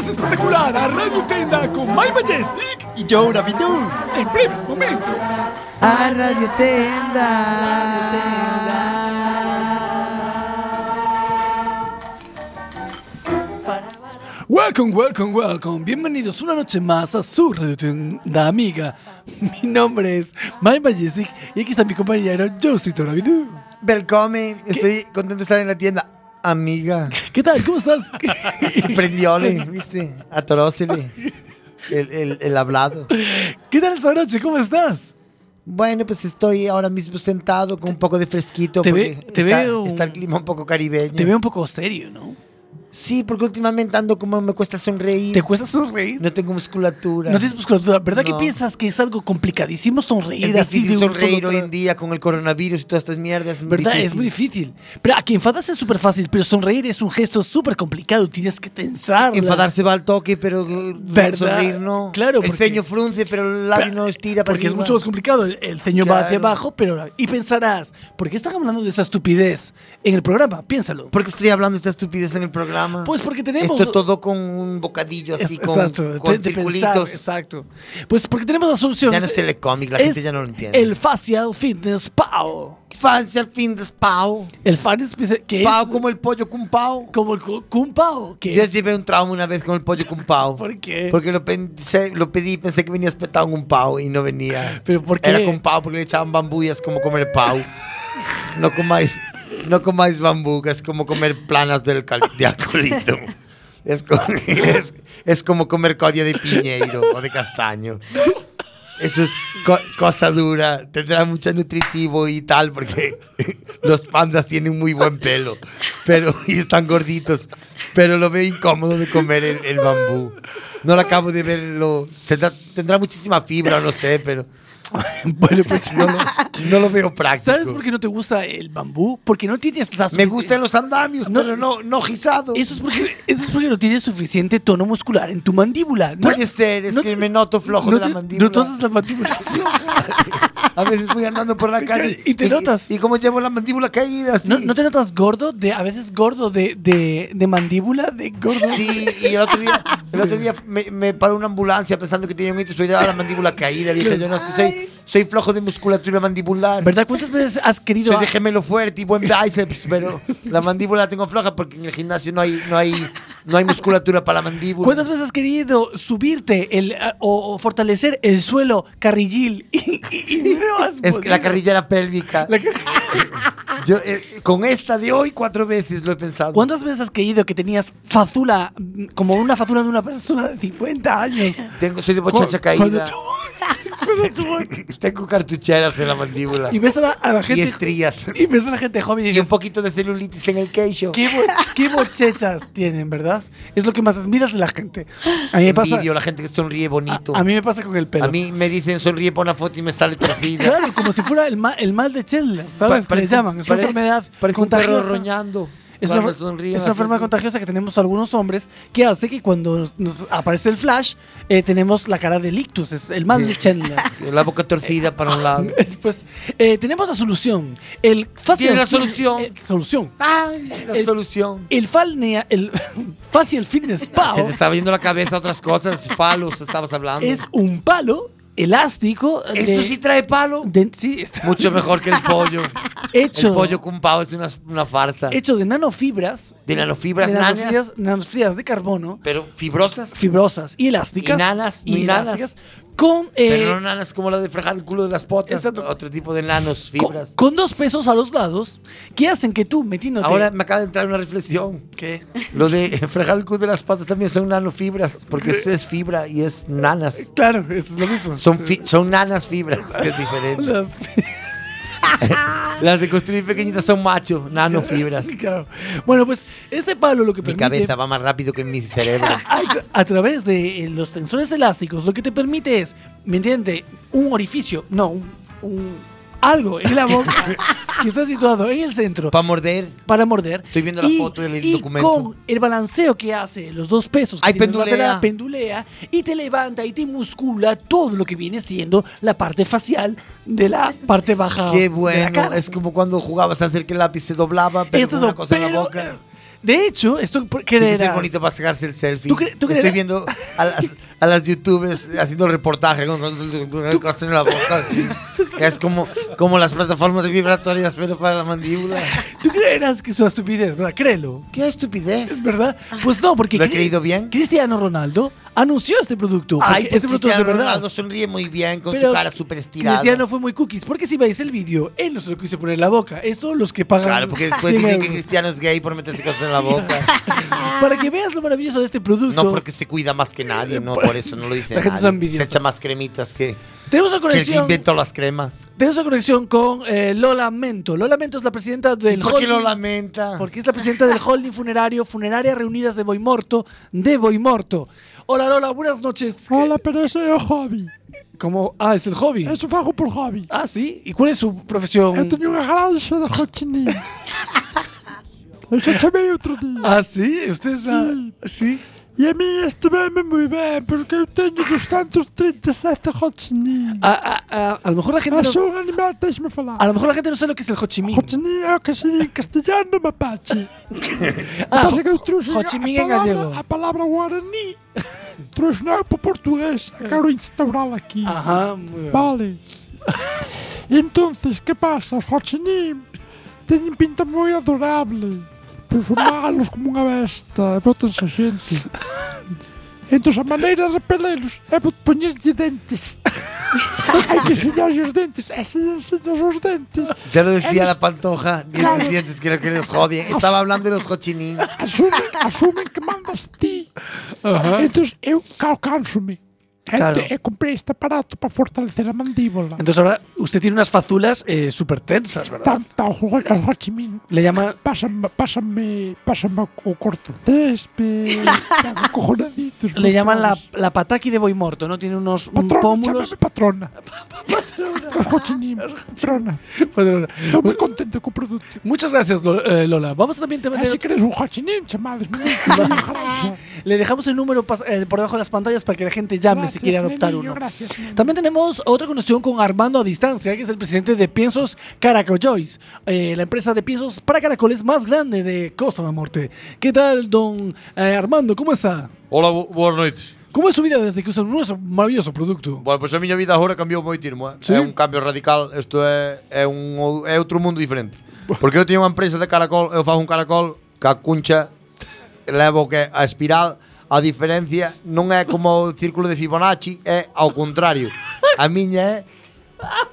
[SPEAKER 2] escoitar a Radio Tenda con My Majestic
[SPEAKER 17] e Joe Navidou
[SPEAKER 2] en breves momentos.
[SPEAKER 18] A Radio Tenda.
[SPEAKER 2] Welcome, welcome, welcome. Bienvenidos una noche más a su Radio Tenda Amiga. Mi nombre es My Majestic y aquí está mi compañero Josito Navidou.
[SPEAKER 3] Welcome, estoy contento de estar en la tienda. Amiga.
[SPEAKER 2] ¿Qué tal? ¿Cómo estás? *laughs*
[SPEAKER 3] *laughs* Prendióle, ¿viste? Atorósele. El, el, el hablado.
[SPEAKER 2] ¿Qué tal esta noche? ¿Cómo estás?
[SPEAKER 3] Bueno, pues estoy ahora mismo sentado con un poco de fresquito.
[SPEAKER 2] te
[SPEAKER 3] porque
[SPEAKER 2] ve- te
[SPEAKER 3] está,
[SPEAKER 2] veo-
[SPEAKER 3] está el clima un poco caribeño.
[SPEAKER 2] Te veo un poco serio, ¿no?
[SPEAKER 3] Sí, porque últimamente ando como me cuesta sonreír.
[SPEAKER 2] ¿Te cuesta sonreír?
[SPEAKER 3] No tengo musculatura.
[SPEAKER 2] No tienes musculatura. ¿Verdad
[SPEAKER 3] No.
[SPEAKER 2] que piensas que es algo complicadísimo sonreír
[SPEAKER 3] Es
[SPEAKER 2] así
[SPEAKER 3] difícil
[SPEAKER 2] de un
[SPEAKER 3] sonreír
[SPEAKER 2] solo
[SPEAKER 3] hoy
[SPEAKER 2] tra-
[SPEAKER 3] en día con el coronavirus y todas estas mierdas.
[SPEAKER 2] ¿Verdad? Es muy difícil. Pero a que enfadarse es súper fácil, pero sonreír es un gesto súper complicado. Tienes que tensar.
[SPEAKER 3] Enfadarse va al toque, pero eh,
[SPEAKER 2] ¿Verdad?
[SPEAKER 3] sonreír no.
[SPEAKER 2] Claro,
[SPEAKER 3] El
[SPEAKER 2] porque-
[SPEAKER 3] ceño frunce, pero el labio no estira para
[SPEAKER 2] Porque es
[SPEAKER 3] arriba.
[SPEAKER 2] mucho más complicado. El, el ceño va hacia
[SPEAKER 3] Claro.
[SPEAKER 2] abajo, pero. Y pensarás, ¿por qué están hablando de esa estupidez en el programa? Piénsalo.
[SPEAKER 3] ¿Por qué estoy hablando de esta estupidez en el programa?
[SPEAKER 2] Pues porque tenemos-
[SPEAKER 3] Esto todo con un bocadillo
[SPEAKER 2] Es-
[SPEAKER 3] así, con, con
[SPEAKER 2] de- de
[SPEAKER 3] circulitos.
[SPEAKER 2] pensar, exacto. Pues porque tenemos las soluciones.
[SPEAKER 3] Ya no es telecomic, la
[SPEAKER 2] Es
[SPEAKER 3] gente ya no lo entiende.
[SPEAKER 2] El Facial Fitness Pau.
[SPEAKER 3] Facial Fitness Pau.
[SPEAKER 2] El Fitness que
[SPEAKER 3] Pau
[SPEAKER 2] es
[SPEAKER 3] como el pollo con pau.
[SPEAKER 2] como el cu- Kung Pao. Que
[SPEAKER 3] Yo
[SPEAKER 2] es-
[SPEAKER 3] llevé un trauma una vez con el pollo con pau.
[SPEAKER 2] ¿Por qué?
[SPEAKER 3] Porque *laughs* lo, pensé- lo pedí, pensé que venía espetado en un pau y no venía.
[SPEAKER 2] Pero ¿por qué?
[SPEAKER 3] Era con pau porque le echaban bambú y es como comer pau. No comáis, no comáis bambú, que es como comer planas del cal- de alcoholito. Es, co- es- es como comer codia de piñeiro o de castaño. Eso es co- cosa dura, tendrá mucho nutritivo y tal, porque los pandas tienen muy buen pelo pero, y están gorditos, pero lo veo incómodo de comer el, el bambú. No lo acabo de verlo, tendrá, tendrá muchísima fibra, no sé, pero
[SPEAKER 2] bueno, pues
[SPEAKER 3] no lo, no lo veo práctico.
[SPEAKER 2] ¿Sabes por qué no te gusta el bambú? Porque no tienes la
[SPEAKER 3] Me
[SPEAKER 2] sufici-
[SPEAKER 3] gustan los andamios,
[SPEAKER 2] No-
[SPEAKER 3] pero no, no guisado.
[SPEAKER 2] Eso es, porque, eso es porque no tienes suficiente tono muscular en tu mandíbula. No-
[SPEAKER 3] Puede ser, es
[SPEAKER 2] no-
[SPEAKER 3] que me noto flojo
[SPEAKER 2] no
[SPEAKER 3] de
[SPEAKER 2] te-
[SPEAKER 3] la mandíbula.
[SPEAKER 2] No tosas la
[SPEAKER 3] *laughs*
[SPEAKER 2] mandíbula.
[SPEAKER 3] A veces voy andando por la calle.
[SPEAKER 2] *laughs* Y te notas.
[SPEAKER 3] Y, como llevo la mandíbula caída, así.
[SPEAKER 2] ¿No, no te notas gordo? De, a veces gordo de, de, de mandíbula, de gordo.
[SPEAKER 3] Sí, y el otro día, el otro día me, me paró una ambulancia pensando que tenía un hito y llevaba la mandíbula caída. Dije, yo no, es que soy, soy flojo de musculatura mandibular.
[SPEAKER 2] ¿Verdad? Ah. ¿Cuántas veces has querido...
[SPEAKER 3] Soy
[SPEAKER 2] a-
[SPEAKER 3] de gemelo fuerte y buen bíceps, pero la mandíbula la tengo floja porque en el gimnasio no hay, no hay, no hay musculatura para la mandíbula.
[SPEAKER 2] ¿Cuántas veces has querido subirte el, a- o, o fortalecer el suelo carrillil y, y- y no has
[SPEAKER 3] Es que la
[SPEAKER 2] podido?
[SPEAKER 3] carrillera pélvica.
[SPEAKER 2] La que-
[SPEAKER 3] Yo, eh, con esta de hoy cuatro veces lo he pensado.
[SPEAKER 2] ¿Cuántas veces has creído que tenías fazula, mm, como una fazula de una persona de 50 años?
[SPEAKER 3] Tengo, soy de bochacha
[SPEAKER 2] Cu-
[SPEAKER 3] caída.
[SPEAKER 2] cuando tú- *laughs* cuando tú-
[SPEAKER 3] *laughs* Tengo cartucheras en la mandíbula.
[SPEAKER 2] y ves a la, a la
[SPEAKER 3] y
[SPEAKER 2] gente.
[SPEAKER 3] estrías.
[SPEAKER 2] Y ves a la gente joven y
[SPEAKER 3] Y un
[SPEAKER 2] dices,
[SPEAKER 3] poquito de celulitis en el queixo.
[SPEAKER 2] ¿Qué, bo- qué bochechas tienen, ¿verdad? Es lo que más admiras de la gente. A mí me pasa,
[SPEAKER 3] Envidio la gente que sonríe bonito.
[SPEAKER 2] a, a mí me pasa con el pelo.
[SPEAKER 3] A mí me dicen sonríe por una foto y me sale torcida.
[SPEAKER 2] Claro, como si fuera el, ma- el mal de Chandler,
[SPEAKER 3] Pa-
[SPEAKER 2] ¿sabes? que le
[SPEAKER 3] parece-
[SPEAKER 2] llaman. Es una
[SPEAKER 3] pare-
[SPEAKER 2] enfermedad
[SPEAKER 3] parece un perro
[SPEAKER 2] contagiosa.
[SPEAKER 3] roñando.
[SPEAKER 2] Es
[SPEAKER 3] cuando
[SPEAKER 2] una,
[SPEAKER 3] sonríe
[SPEAKER 2] es
[SPEAKER 3] la
[SPEAKER 2] una enfermedad
[SPEAKER 3] gente.
[SPEAKER 2] contagiosa que tenemos algunos hombres que hace que cuando nos aparece el flash eh, tenemos la cara del ictus, es el mal de
[SPEAKER 3] *laughs*
[SPEAKER 2] Chandler.
[SPEAKER 3] La boca torcida para un
[SPEAKER 2] *laughs*
[SPEAKER 3] lado.
[SPEAKER 2] Después, eh, tenemos la solución. El facial
[SPEAKER 3] Tiene la
[SPEAKER 2] fit-
[SPEAKER 3] solución.
[SPEAKER 2] eh, solución.
[SPEAKER 3] Ay, la
[SPEAKER 2] El-
[SPEAKER 3] solución.
[SPEAKER 2] El, falnea- el *laughs* facial
[SPEAKER 3] *laughs*
[SPEAKER 2] fitness
[SPEAKER 3] Se te
[SPEAKER 2] pao
[SPEAKER 3] estaba yendo la cabeza a otras cosas, palos, estabas hablando.
[SPEAKER 2] es un palo elástico de-
[SPEAKER 3] ¿Esto sí trae palo?
[SPEAKER 2] de- sí, está
[SPEAKER 3] Mucho mejor
[SPEAKER 2] *laughs*
[SPEAKER 3] que el pollo.
[SPEAKER 2] hecho,
[SPEAKER 3] *laughs* El pollo con pavo es una, una farsa.
[SPEAKER 2] hecho de nanofibras.
[SPEAKER 3] De nanofibras
[SPEAKER 2] de
[SPEAKER 3] nanas.
[SPEAKER 2] nanofibras, nanofibras de carbono,
[SPEAKER 3] Pero fibrosas.
[SPEAKER 2] fibrosas y elásticas.
[SPEAKER 3] Y nanas, muy nanas.
[SPEAKER 2] elásticas. Con, eh,
[SPEAKER 3] pero no nanas como la de fregar el culo de las potas.
[SPEAKER 2] Exacto.
[SPEAKER 3] Otro tipo de nanos,
[SPEAKER 2] co-
[SPEAKER 3] fibras.
[SPEAKER 2] con dos pesos a los lados que hacen que tú metiéndote.
[SPEAKER 3] Ahora me acaba de entrar una reflexión.
[SPEAKER 2] ¿Qué?
[SPEAKER 3] Lo de fregar el culo de las patas también son nanofibras, porque es, es fibra y es nanas.
[SPEAKER 2] *laughs* Claro, eso es lo
[SPEAKER 3] *laughs*
[SPEAKER 2] mismo.
[SPEAKER 3] Son, fi- son nanas fibras, que es diferente.
[SPEAKER 2] Las-
[SPEAKER 3] Las de construir pequeñitas son macho, nanofibras.
[SPEAKER 2] claro. Bueno, pues este palo lo que
[SPEAKER 3] Mi
[SPEAKER 2] permite.
[SPEAKER 3] cabeza va más rápido que mi cerebro.
[SPEAKER 2] a, a través de eh, los tensores elásticos, lo que te permite es, ¿me entiende? Un orificio, no, un, un- algo en la
[SPEAKER 3] *laughs*
[SPEAKER 2] boca que está situado en el centro
[SPEAKER 3] Para morder.
[SPEAKER 2] para morder.
[SPEAKER 3] Estoy viendo la foto del
[SPEAKER 2] y
[SPEAKER 3] documento.
[SPEAKER 2] Con el balanceo que hace, los dos pesos, que
[SPEAKER 3] Ay,
[SPEAKER 2] tiene la
[SPEAKER 3] pendulea.
[SPEAKER 2] lateral, pendulea y te levanta y te muscula todo lo que viene siendo la parte facial de la parte baja.
[SPEAKER 3] Qué
[SPEAKER 2] de la
[SPEAKER 3] bueno.
[SPEAKER 2] cara.
[SPEAKER 3] Es como cuando jugabas a hacer que el lápiz se doblaba, pero
[SPEAKER 2] Esto
[SPEAKER 3] con
[SPEAKER 2] no,
[SPEAKER 3] una cosa en la
[SPEAKER 2] pero,
[SPEAKER 3] boca.
[SPEAKER 2] eh,
[SPEAKER 19] De hecho, esto
[SPEAKER 20] Tiene que
[SPEAKER 19] creerás.
[SPEAKER 20] ser bonito para sacarse el selfie.
[SPEAKER 19] ¿Tú cre- tú
[SPEAKER 20] Estoy
[SPEAKER 19] creerás-
[SPEAKER 20] viendo a las, a las youtubers haciendo reportaje con, con- con- haciendo la boca
[SPEAKER 2] *laughs*
[SPEAKER 20] así. Es como, como las plataformas vibratorias, pero para la mandíbula.
[SPEAKER 2] *laughs* Tú creerás que es una estupidez, ¿verdad? Créelo.
[SPEAKER 20] ¿Qué estupidez?
[SPEAKER 2] ¿Verdad? Pues no, porque.
[SPEAKER 20] ¿Lo he
[SPEAKER 2] Cri-
[SPEAKER 20] creído bien?
[SPEAKER 2] Cristiano Ronaldo anunció este producto.
[SPEAKER 20] Ay,
[SPEAKER 2] porque
[SPEAKER 20] pues
[SPEAKER 2] este producto es
[SPEAKER 20] Cristiano
[SPEAKER 2] de verdad.
[SPEAKER 20] Ronaldo sonríe muy bien con
[SPEAKER 2] Pero
[SPEAKER 20] su cara súper estirada.
[SPEAKER 2] Cristiano fue muy cookies. Porque si veis el vídeo, él no se lo quiso poner en la boca. Eso los que pagan.
[SPEAKER 20] Claro,
[SPEAKER 2] *laughs*
[SPEAKER 20] porque después
[SPEAKER 2] 100
[SPEAKER 20] dicen que
[SPEAKER 2] euros.
[SPEAKER 20] Cristiano es gay por meterse cosas en la
[SPEAKER 2] *laughs*
[SPEAKER 20] boca.
[SPEAKER 2] Para que veas lo maravilloso de este producto.
[SPEAKER 20] No porque se cuida más que nadie, no, por eso no lo dice
[SPEAKER 2] La gente
[SPEAKER 20] nadie.
[SPEAKER 2] es
[SPEAKER 20] Se
[SPEAKER 2] envidiosa.
[SPEAKER 20] echa más cremitas que,
[SPEAKER 2] Tenemos una
[SPEAKER 20] que el que
[SPEAKER 2] conexión.
[SPEAKER 20] inventó las cremas.
[SPEAKER 2] Tenemos una conexión con eh, Lola Mento. Lola Mento es la presidenta del
[SPEAKER 20] por qué
[SPEAKER 2] holding-
[SPEAKER 20] Lola Menta?
[SPEAKER 2] Porque es la presidenta del holding funerario Funeraria Reunidas de Boimorto de Boimorto. Hola Lola, buenas noches. Hola, pero soy el hobby. ¿Cómo? Ah, es el hobby.
[SPEAKER 8] Eu fago por hobby.
[SPEAKER 2] Ah, sí. ¿Y cuál es su profesión?
[SPEAKER 8] Eu teño unha granxa de cochinín. eu xa chamei outro día.
[SPEAKER 2] Ah, sí? Usted
[SPEAKER 8] sí. sí? E a mí estuveme moi ben, porque eu teño 237 cochinín.
[SPEAKER 2] A, a, a, Ah, a lo mejor la gente
[SPEAKER 8] Ah,
[SPEAKER 2] no-
[SPEAKER 8] son animal, deixme falar.
[SPEAKER 2] A lo mejor la gente no sabe lo que es el Ho Chi Minh.
[SPEAKER 8] Cochinín é o que se di en castellano,
[SPEAKER 2] *laughs*
[SPEAKER 8] mapache.
[SPEAKER 2] Ah,
[SPEAKER 8] Pasa é que eu trouxe
[SPEAKER 2] Ho Chi
[SPEAKER 8] a
[SPEAKER 2] Minh en
[SPEAKER 8] palabra-
[SPEAKER 2] gallego.
[SPEAKER 8] A palabra guaraní trouxe non para
[SPEAKER 2] *laughs*
[SPEAKER 8] portugués. Quero instaurala aquí.
[SPEAKER 2] Ajá, muy bien.
[SPEAKER 8] Vale. Entonces, ¿qué pasa? Os Hochinim teñen pinta moi adorable. Pero son malos como unha besta e botanse a xente. Entón, a maneira de repelerlos é bot
[SPEAKER 2] *laughs*
[SPEAKER 8] poñerlle dentes. Hai que enseñarlle os dentes. E se lle enseñas os dentes...
[SPEAKER 20] Ya lo decía
[SPEAKER 8] eles
[SPEAKER 20] la pantoja, dientes,
[SPEAKER 8] Claro.
[SPEAKER 20] dientes, que lo que les
[SPEAKER 2] *laughs*
[SPEAKER 20] jodien. Estaba hablando de los cochinín.
[SPEAKER 8] Asumen, asumen que mandas ti.
[SPEAKER 20] Ajá.
[SPEAKER 8] Entón, eu cao canso-me.
[SPEAKER 2] Claro.
[SPEAKER 8] Claro. E comprei é este aparato para fortalecer a mandíbula.
[SPEAKER 2] Entonces ahora usted tiene unas fazulas eh, súper tensas, ¿verdad?
[SPEAKER 8] Tanta el Ho Chi Minh.
[SPEAKER 2] Le llama.
[SPEAKER 8] Pásame, pásame, pásame o corto
[SPEAKER 2] *laughs*
[SPEAKER 8] césped. cojonaditos.
[SPEAKER 2] Le llaman la, la pataki de boimorto, ¿no? Tiene unos mm,
[SPEAKER 8] Patrona,
[SPEAKER 2] pómulos.
[SPEAKER 8] llámame
[SPEAKER 2] *laughs*
[SPEAKER 8] patrona. Os Ho Chi Minh, patrona.
[SPEAKER 2] Patrona.
[SPEAKER 8] Estou moi contento co produto.
[SPEAKER 2] Pues, Muchas gracias, Lo- eh, Lola. Vamos a también
[SPEAKER 8] Ah,
[SPEAKER 2] tener.
[SPEAKER 8] si queres un Ho Chi
[SPEAKER 2] *laughs*
[SPEAKER 8] Minh, chamades. me dices.
[SPEAKER 2] Le dejamos el número pas- eh, por debajo de las pantallas para que la gente llame si
[SPEAKER 8] Gracias,
[SPEAKER 2] quiere adoptar
[SPEAKER 8] niño,
[SPEAKER 2] uno.
[SPEAKER 8] gracias, niño.
[SPEAKER 2] También tenemos otra conexión con Armando a distancia, que es el presidente de Piensos Caracollois, eh, la empresa de piensos para caracoles más grande de Costa da Morte. ¿Qué tal, don eh, Armando? ¿Cómo está?
[SPEAKER 3] Hola, bu- boas noites.
[SPEAKER 2] ¿Cómo es su vida desde que usa nuestro maravilloso producto?
[SPEAKER 3] Bueno, pois a miña vida agora cambiou moitismo, eh?
[SPEAKER 2] Sí?
[SPEAKER 3] É un cambio radical, isto é é un ou- é outro mundo diferente. Porque eu teño unha empresa de caracol, eu fago un caracol ca cuncha levo que a espiral a diferencia non é como o círculo de Fibonacci, é ao contrario. A miña é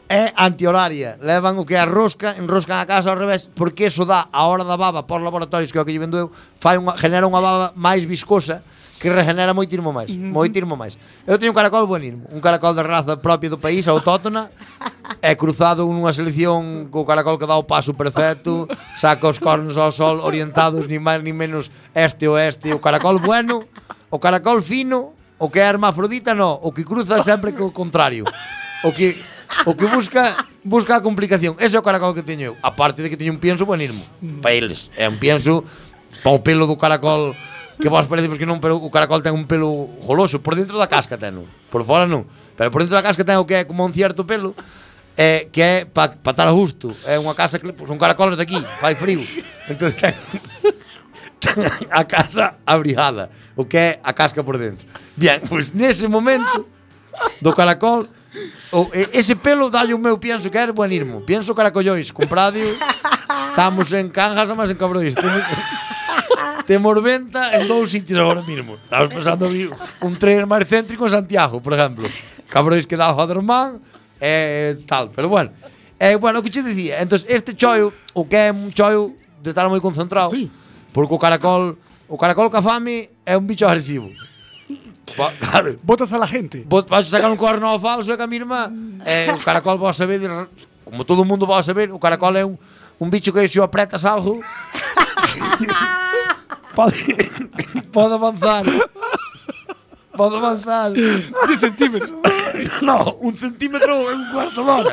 [SPEAKER 3] é antihoraria. Levan o que é a rosca, enroscan a casa ao revés, porque eso dá a hora da baba por laboratorios que é o que lle vendo eu, fai unha, genera unha baba máis viscosa que regenera moitismo máis,
[SPEAKER 20] Mhm.
[SPEAKER 3] moitismo máis. Eu teño un caracol buenismo, un caracol de raza propia do país, autóctona, é cruzado nunha selección co caracol que dá o paso perfecto, saca os cornos ao sol orientados ni máis ni menos este oeste, o caracol bueno, o caracol fino, o que é hermafrodita no, o que cruza sempre co contrario. O que o que busca busca a complicación. Ese é o caracol que teño eu. A parte de que teño un pienso buenismo. Para eles. É un pienso para o pelo do caracol que vos parece pois que non, pero o caracol ten un pelo goloso. Por dentro da casca ten, por fora non. Pero por dentro da casca ten o que é como un cierto pelo eh, que é para pa estar a gusto. É unha casa que pois, un caracol de aquí, fai frío. Entón ten, ten a casa abrigada, o que é a casca por dentro. Bien, pois nese momento do caracol o, e- ese pelo dalle o meu pienso que era buenismo. Pienso caracollois, compradio. Estamos en canjas, mas en cabrois. Temos, temos venta en dous sitios agora mesmo. Estamos pasando vi- un tren máis céntrico en Santiago, por exemplo. Cabrois que dá ao Haderman e tal, pero bueno. Eh, bueno, o que che dicía, entón este choio, o que é un choio de estar moi concentrado, sí. porque o caracol, o caracol cafame é un bicho agresivo. Pa, claro,
[SPEAKER 2] Votas a la gente.
[SPEAKER 3] Vou- Vas a sacar un corno ao falso e que a mi irmá eh, O caracol vos saber Como todo mundo vos saber O caracol é un, un bicho que se o apretas algo Pode, *laughs* pode avanzar Pode avanzar 10 centímetros No, un centímetro é un cuarto de hora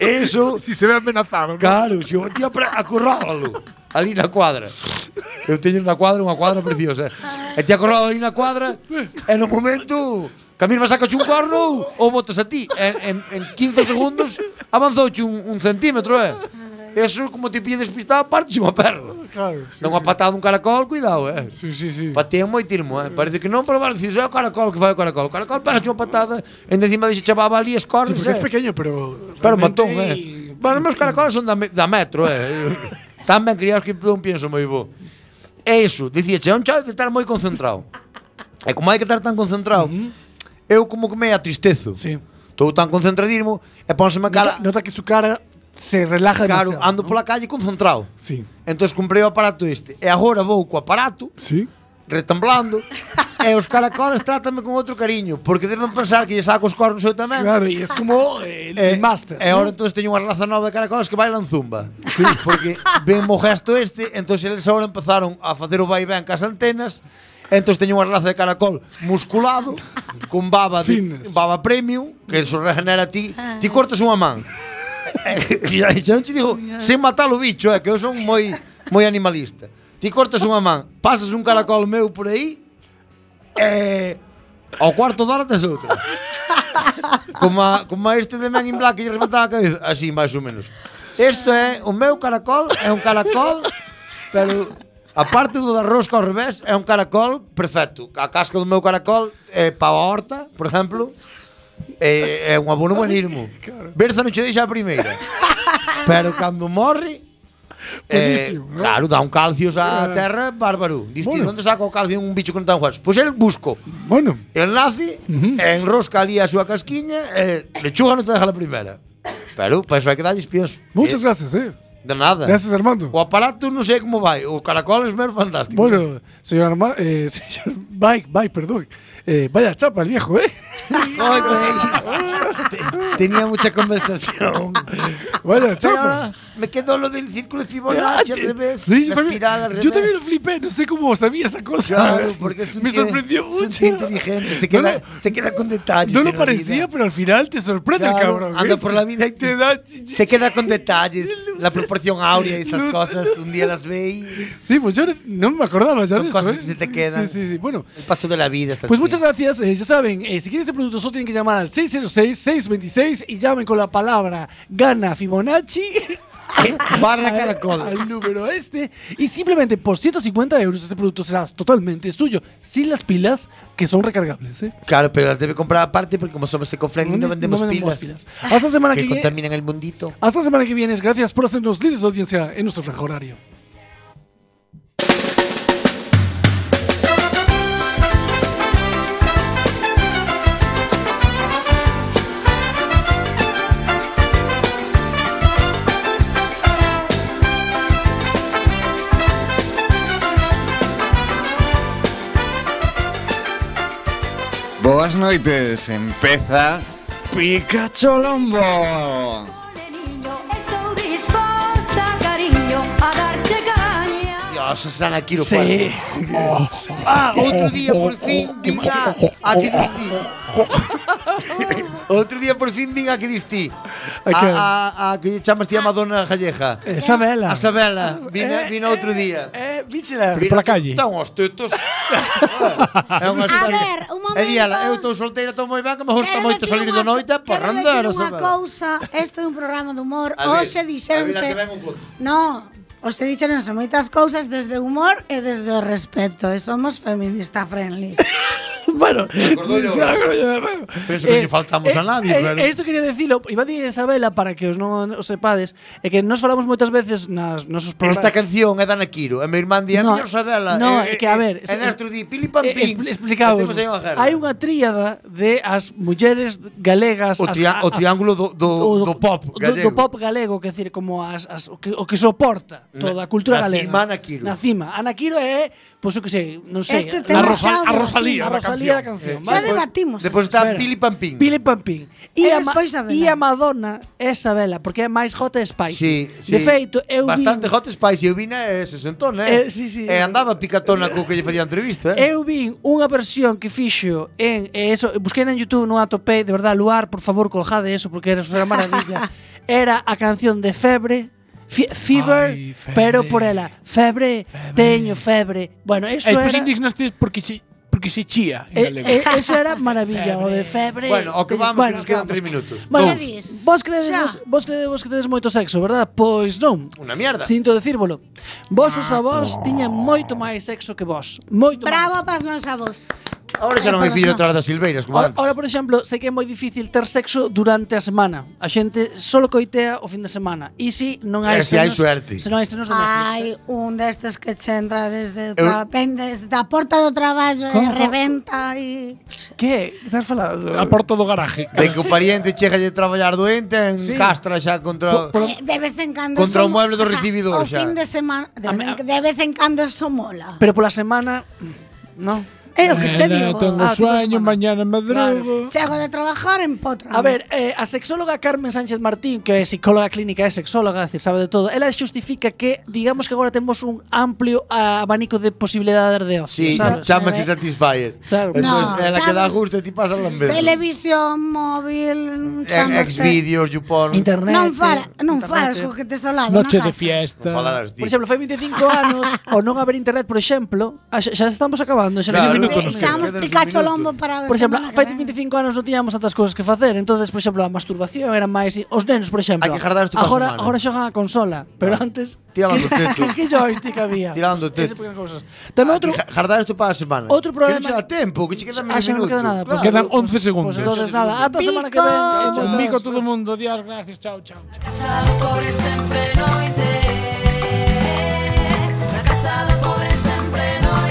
[SPEAKER 3] Eso
[SPEAKER 8] Si se ve amenazado. ¿no?
[SPEAKER 3] Claro, se o metía pre- acurrálalo ali na cuadra. Eu teño na cuadra unha cuadra preciosa. E te acurrálalo ali na cuadra e no momento que a mesma saca un corno ou botas a ti. En, en, en 15 segundos avanzouche un, un centímetro, eh? Eso, como te pilla despistado, parte unha perna.
[SPEAKER 8] Claro. sí,
[SPEAKER 3] Dá unha patada un caracol, cuidado, eh.
[SPEAKER 8] Sí, sí, sí.
[SPEAKER 3] Patea moitismo, eh. Parece que non, pero bueno, dices, é o caracol que fai o caracol. O caracol pega unha patada, en encima dixe, chavaba ali,
[SPEAKER 8] Sí,
[SPEAKER 3] escorre,
[SPEAKER 8] porque es pequeño, pero.
[SPEAKER 3] Pero
[SPEAKER 8] realmente-
[SPEAKER 3] matón, eh. Bueno, meus caracoles son da, me- da metro, eh.
[SPEAKER 2] *laughs*
[SPEAKER 3] Tan ben criados que un pienso moi bo. É iso, dicía, é un chavo de estar moi concentrado. E como hai que estar tan concentrado, eu como que me atristezo.
[SPEAKER 2] Sí.
[SPEAKER 3] Estou tan concentradismo e pónseme a cara...
[SPEAKER 2] Nota que su cara se relaja
[SPEAKER 3] Claro,
[SPEAKER 2] demasiado.
[SPEAKER 3] ando pola calle concentrado.
[SPEAKER 2] Sí.
[SPEAKER 3] Entón comprei o aparato este. E agora vou co aparato.
[SPEAKER 8] Sí.
[SPEAKER 3] Retamblando. e os caracoles trátame con outro cariño, porque deben pensar que lle saco os cornos eu tamén.
[SPEAKER 2] Claro, e es como eh,
[SPEAKER 3] *laughs*
[SPEAKER 2] el,
[SPEAKER 3] E-
[SPEAKER 2] máster.
[SPEAKER 3] E ahora entonces teño unha raza nova de caracoles que bailan zumba. Sí. *laughs* Porque ven o gesto este, entonces eles ahora empezaron a facer o vai ben cas antenas, entonces teño unha raza de caracol musculado, con baba de,
[SPEAKER 8] Fitness.
[SPEAKER 3] baba premium, que eso regenera ti, ti cortas unha man. *laughs* E xa- xa non te digo, sen matar o bicho, é que eu son moi moi animalista. Ti cortas unha man, pasas un caracol meu por aí, e ao cuarto de hora tes outro. como, a, como a este de Man in Black que lle reventaba a cabeza, así máis ou menos. Isto é o meu caracol, é un caracol, pero a parte do da rosca ao revés, é un caracol perfecto. A casca do meu caracol é pa a horta, por exemplo, é, é un abono buenismo. Berza non che deixa a primeira. Pero cando morre, Eh,
[SPEAKER 8] Buenísimo, ¿no?
[SPEAKER 3] claro, dá un calcio á
[SPEAKER 8] Eh,
[SPEAKER 3] terra bárbaro. Diz,
[SPEAKER 8] bueno.
[SPEAKER 3] bueno. onde saca o calcio un bicho que non ten huesos? Pois el busco.
[SPEAKER 8] Bueno.
[SPEAKER 3] El nace, enrosca ali a súa casquiña, eh, lechuga non te deja la primera. Pero, para iso hai que darlles pienso.
[SPEAKER 8] Muchas gracias, eh.
[SPEAKER 3] De nada.
[SPEAKER 8] Gracias, Armando.
[SPEAKER 3] O aparato non sei como vai, o caracol é mero fantástico.
[SPEAKER 8] Bueno, señor Armando. Eh, *laughs* señor Mike, Mike, perdón. Eh, vaya chapa el viejo,
[SPEAKER 3] *laughs*
[SPEAKER 8] eh.
[SPEAKER 3] Ay, güey. Te- *laughs* tenía mucha conversación. Pero
[SPEAKER 8] Vaya chapa. Ah,
[SPEAKER 3] ahora me quedó lo del círculo de Fibonacci al revés,
[SPEAKER 8] Sí, yo
[SPEAKER 3] la
[SPEAKER 8] también,
[SPEAKER 3] espiral al
[SPEAKER 8] yo
[SPEAKER 3] revés.
[SPEAKER 8] también lo flipé, no sé cómo sabía esa cosa. *laughs*
[SPEAKER 3] Claro, porque es un
[SPEAKER 8] Me
[SPEAKER 3] tío-
[SPEAKER 8] sorprendió
[SPEAKER 3] es un tío
[SPEAKER 8] mucho.
[SPEAKER 3] inteligente, se queda- se queda con detalles
[SPEAKER 8] No
[SPEAKER 3] de
[SPEAKER 8] lo
[SPEAKER 3] la
[SPEAKER 8] parecía,
[SPEAKER 3] vida.
[SPEAKER 8] pero al final te sorprende el
[SPEAKER 3] Claro,
[SPEAKER 8] cabrón.
[SPEAKER 3] anda
[SPEAKER 8] ¿ves?
[SPEAKER 3] por la vida y te
[SPEAKER 8] da.
[SPEAKER 3] Se queda con detalles, la proporción áurea y esas
[SPEAKER 8] Luces.
[SPEAKER 3] cosas. Un día las ve y
[SPEAKER 8] Sí, pues yo no me acordaba ya
[SPEAKER 3] son
[SPEAKER 8] de eso.
[SPEAKER 3] cosas
[SPEAKER 8] ¿eh?
[SPEAKER 3] que se te quedan.
[SPEAKER 8] Sí, sí, sí. Bueno,
[SPEAKER 3] El paso de la vida. es
[SPEAKER 2] Pues
[SPEAKER 3] así.
[SPEAKER 2] muchas gracias. eh, ya saben, eh, si quieren este producto, solo tienen que llamar al 606-626 y llamen con la palabra gana
[SPEAKER 3] *laughs*
[SPEAKER 2] Fibonacci.
[SPEAKER 3] Ah, Barra
[SPEAKER 2] al-
[SPEAKER 3] caracol.
[SPEAKER 2] Al número este. Y simplemente por 150 euros este producto será totalmente suyo. Sin las pilas que son recargables. ¿eh?
[SPEAKER 3] Claro, pero las debe comprar aparte porque como somos ecofriendly no vendemos pilas.
[SPEAKER 2] Hasta la semana que,
[SPEAKER 3] Que
[SPEAKER 2] viene.
[SPEAKER 3] contaminan el mundito.
[SPEAKER 2] Hasta la semana que viene. Gracias por hacernos líderes de audiencia en nuestro franja horario.
[SPEAKER 6] Boas noites, empeza Pikachu Lombo.
[SPEAKER 1] Estou disposta, cariño, a darche caña.
[SPEAKER 3] Dios, Susana Quiro.
[SPEAKER 2] Sí.
[SPEAKER 3] Ah, otro día por fin vin a, a que distí. outro día por fin vin a que distí. A,
[SPEAKER 2] que?
[SPEAKER 3] a, a que lle chamas tía Madonna Galleja.
[SPEAKER 2] Isabela.
[SPEAKER 3] A Sabela, vine, vine outro día.
[SPEAKER 2] Eh, bichela.
[SPEAKER 3] Vine
[SPEAKER 8] pola
[SPEAKER 3] outro-
[SPEAKER 8] calle.
[SPEAKER 3] Están os
[SPEAKER 2] *laughs*
[SPEAKER 3] tetos. é unha
[SPEAKER 7] A
[SPEAKER 3] historia.
[SPEAKER 7] ver, un momento.
[SPEAKER 3] E díala, eu estou solteira, estou moi ben, que me gusta
[SPEAKER 7] Quero
[SPEAKER 3] moito
[SPEAKER 7] dicir
[SPEAKER 3] salir
[SPEAKER 7] unha-
[SPEAKER 3] de noite para
[SPEAKER 7] quero
[SPEAKER 3] andar. a
[SPEAKER 7] dicir unha
[SPEAKER 3] Sabela.
[SPEAKER 7] cousa, isto é un programa de humor.
[SPEAKER 3] A ver, a
[SPEAKER 7] Hoxe
[SPEAKER 3] ver
[SPEAKER 7] dixéronse...
[SPEAKER 3] a que ven un pouco.
[SPEAKER 7] No, hoxe dixéronse moitas cousas desde o humor e desde o respeto. E somos feminista
[SPEAKER 3] *laughs*
[SPEAKER 7] friendly.
[SPEAKER 2] Bueno, *laughs*
[SPEAKER 3] Acordollo.
[SPEAKER 2] sí, acordollo.
[SPEAKER 3] Penso que lle faltamos a nadie, pero-
[SPEAKER 2] Eh, Esto quería decirlo, iba a dicir Isabela para que os non os sepades, é que nos falamos moitas veces nas nosos programas.
[SPEAKER 3] Esta canción é da Ana Quiro, e meu irmán di, a
[SPEAKER 2] No,
[SPEAKER 3] mellor Sabela.
[SPEAKER 2] no, é que, a ver,
[SPEAKER 3] E
[SPEAKER 2] se-
[SPEAKER 3] Nastro di, Pili Pam
[SPEAKER 2] Eh,
[SPEAKER 3] Pim.
[SPEAKER 2] expl- explicaos.
[SPEAKER 3] E temos aí unha guerra.
[SPEAKER 2] Hai unha tríada de as mulleres galegas
[SPEAKER 3] O,
[SPEAKER 2] as-
[SPEAKER 3] tria-
[SPEAKER 2] a-
[SPEAKER 3] o
[SPEAKER 2] a-
[SPEAKER 3] triángulo do, do,
[SPEAKER 2] Ah, o
[SPEAKER 3] do pop
[SPEAKER 2] do-
[SPEAKER 3] gallego.
[SPEAKER 2] Do, pop galego, que decir, como as, as o, que, o que soporta toda a cultura
[SPEAKER 3] na
[SPEAKER 2] galega.
[SPEAKER 3] cima, Ana Quiro.
[SPEAKER 2] Na cima. Ana Quiro é, pois o que sei, non sei,
[SPEAKER 7] Este
[SPEAKER 2] a,
[SPEAKER 7] tema
[SPEAKER 2] Rosa-
[SPEAKER 7] xa o
[SPEAKER 2] a Rosalía,
[SPEAKER 7] debatimos.
[SPEAKER 2] a Rosalía da
[SPEAKER 3] Eh,
[SPEAKER 2] canción.
[SPEAKER 7] Xa
[SPEAKER 2] vale? Pois,
[SPEAKER 7] debatimos.
[SPEAKER 3] Depois está
[SPEAKER 2] Espera.
[SPEAKER 3] Pili Pam Pim.
[SPEAKER 2] Pili Pampín.
[SPEAKER 7] E
[SPEAKER 2] E, a, Ma-
[SPEAKER 7] despois Sabela.
[SPEAKER 2] e a Madonna é Sabela, porque é máis hot e spicy.
[SPEAKER 3] Sí, sí.
[SPEAKER 2] De feito, eu vin,
[SPEAKER 3] Bastante hot spice, eu vina e se sentón,
[SPEAKER 2] Eh,
[SPEAKER 3] eh?
[SPEAKER 2] sí, sí.
[SPEAKER 3] E andaba picatona co que lle facía a entrevista, eh?
[SPEAKER 2] eu vin unha versión que fixo en e eso, busquei en YouTube, non a topei, de verdad, Luar, por favor, colgade eso porque era unha maravilla. era a canción de Febre, Fi- Fever,
[SPEAKER 8] Ay, Febre.
[SPEAKER 2] pero por ela, Febre, teño febre. Bueno, eso
[SPEAKER 8] Ey,
[SPEAKER 2] era
[SPEAKER 8] pues indignaste porque sí. Porque que se chía en
[SPEAKER 2] Eh,
[SPEAKER 8] galego.
[SPEAKER 2] eh, eso era maravilla, o de febre.
[SPEAKER 8] Bueno, ao que
[SPEAKER 2] de-
[SPEAKER 8] vamos, que nos quedan tres minutos.
[SPEAKER 2] Bueno,
[SPEAKER 8] Dous.
[SPEAKER 2] vos credes, vos, vos credes vos que tedes moito sexo, verdad? Pois non.
[SPEAKER 3] Unha mierda. Ah,
[SPEAKER 2] Sinto dicírvolo. Vos os avós tiñan moito máis sexo que vos. Moito
[SPEAKER 7] Bravo para os meus avós.
[SPEAKER 3] Ahora xa non
[SPEAKER 2] Ai,
[SPEAKER 3] hai fillo
[SPEAKER 2] perdón.
[SPEAKER 3] atrás das silveiras, como
[SPEAKER 2] Ahora,
[SPEAKER 3] antes.
[SPEAKER 2] ahora, por exemplo, sei que é moi difícil ter sexo durante a semana. A xente solo coitea o fin de semana. E si non hai
[SPEAKER 3] E se hai
[SPEAKER 2] estrenos-
[SPEAKER 3] suerte.
[SPEAKER 2] Se non hai estrenos de Netflix.
[SPEAKER 7] Hai un destes que che
[SPEAKER 3] Eh.
[SPEAKER 7] entra desde,
[SPEAKER 2] Eu-
[SPEAKER 7] tra, ven desde a porta do traballo e
[SPEAKER 2] Como?
[SPEAKER 7] reventa e...
[SPEAKER 2] Que? Estás falando?
[SPEAKER 3] Ah,
[SPEAKER 8] A porta do garaje.
[SPEAKER 2] Eh,
[SPEAKER 3] De que o pariente chega de traballar doente en sí. castra xa contra...
[SPEAKER 7] Eh, De vez en cando
[SPEAKER 3] Contra
[SPEAKER 7] son-
[SPEAKER 3] o mueble do
[SPEAKER 7] o sea,
[SPEAKER 3] recibidor,
[SPEAKER 7] O
[SPEAKER 3] xa.
[SPEAKER 7] fin de semana De, vez en, de vez en cando eso mola
[SPEAKER 2] Pero pola semana, mm, no.
[SPEAKER 7] É o que
[SPEAKER 3] Eh,
[SPEAKER 7] che
[SPEAKER 2] Ah,
[SPEAKER 7] digo
[SPEAKER 8] Tengo sueño, mañana me drogo.
[SPEAKER 7] Chego de trabajar en potra
[SPEAKER 2] A ver, eh, a sexóloga Carmen Sánchez Martín, que é psicóloga clínica e sexóloga, é dicir, sabe de todo, ela xustifica que, digamos que agora temos un amplio ah, abanico de posibilidades de ocio,
[SPEAKER 3] Sí,
[SPEAKER 2] sabes?
[SPEAKER 3] chamase Satisfyer.
[SPEAKER 2] eh, Claro.
[SPEAKER 3] Entón,
[SPEAKER 7] No,
[SPEAKER 3] ela
[SPEAKER 7] xa-
[SPEAKER 3] que dá gusto e ti pasas a mesmo.
[SPEAKER 7] Televisión, móvil chamas-
[SPEAKER 3] Exvideos, YouPorn.
[SPEAKER 2] Internet.
[SPEAKER 7] Non fala, non
[SPEAKER 2] Internet,
[SPEAKER 7] falas
[SPEAKER 2] eh.
[SPEAKER 7] co que te solaba
[SPEAKER 8] Noche
[SPEAKER 7] na
[SPEAKER 8] de
[SPEAKER 7] casa.
[SPEAKER 8] fiesta.
[SPEAKER 2] Por exemplo, fai 25 anos o non haber internet, por exemplo, ah, xa, xa estamos acabando, xa
[SPEAKER 8] Claro,
[SPEAKER 2] nos
[SPEAKER 8] minutos
[SPEAKER 2] quedan-
[SPEAKER 8] nos quedan.
[SPEAKER 7] Deixamos Picacho Lombo para a
[SPEAKER 2] Por exemplo,
[SPEAKER 7] semana que
[SPEAKER 2] fai
[SPEAKER 7] ven.
[SPEAKER 2] 25 anos non tiñamos tantas cousas que facer, entonces, por exemplo, a masturbación era máis os nenos, por exemplo.
[SPEAKER 3] Hai que guardar isto pa
[SPEAKER 2] agora,
[SPEAKER 3] semana.
[SPEAKER 2] agora xogan a consola, pero antes
[SPEAKER 3] Tiraban
[SPEAKER 2] *laughs*
[SPEAKER 3] do teto.
[SPEAKER 2] que, que joystick había?
[SPEAKER 3] Tiraban do
[SPEAKER 2] Ese
[SPEAKER 3] teto.
[SPEAKER 2] pequeno cousas. Tamén
[SPEAKER 3] *laughs*
[SPEAKER 2] outro
[SPEAKER 3] Jardar isto para a semana.
[SPEAKER 2] Outro problema-
[SPEAKER 3] Que non che dá tempo, que che
[SPEAKER 2] Ah,
[SPEAKER 3] quedan menos
[SPEAKER 2] xa non
[SPEAKER 3] minutos.
[SPEAKER 2] queda nada, pois
[SPEAKER 3] Claro.
[SPEAKER 8] Quedan 11 segundos.
[SPEAKER 2] Pues entonces pues, nada, hasta semana que ven.
[SPEAKER 8] Conmigo todo el mundo. Dios, gracias. Chao, chao.
[SPEAKER 1] Por el siempre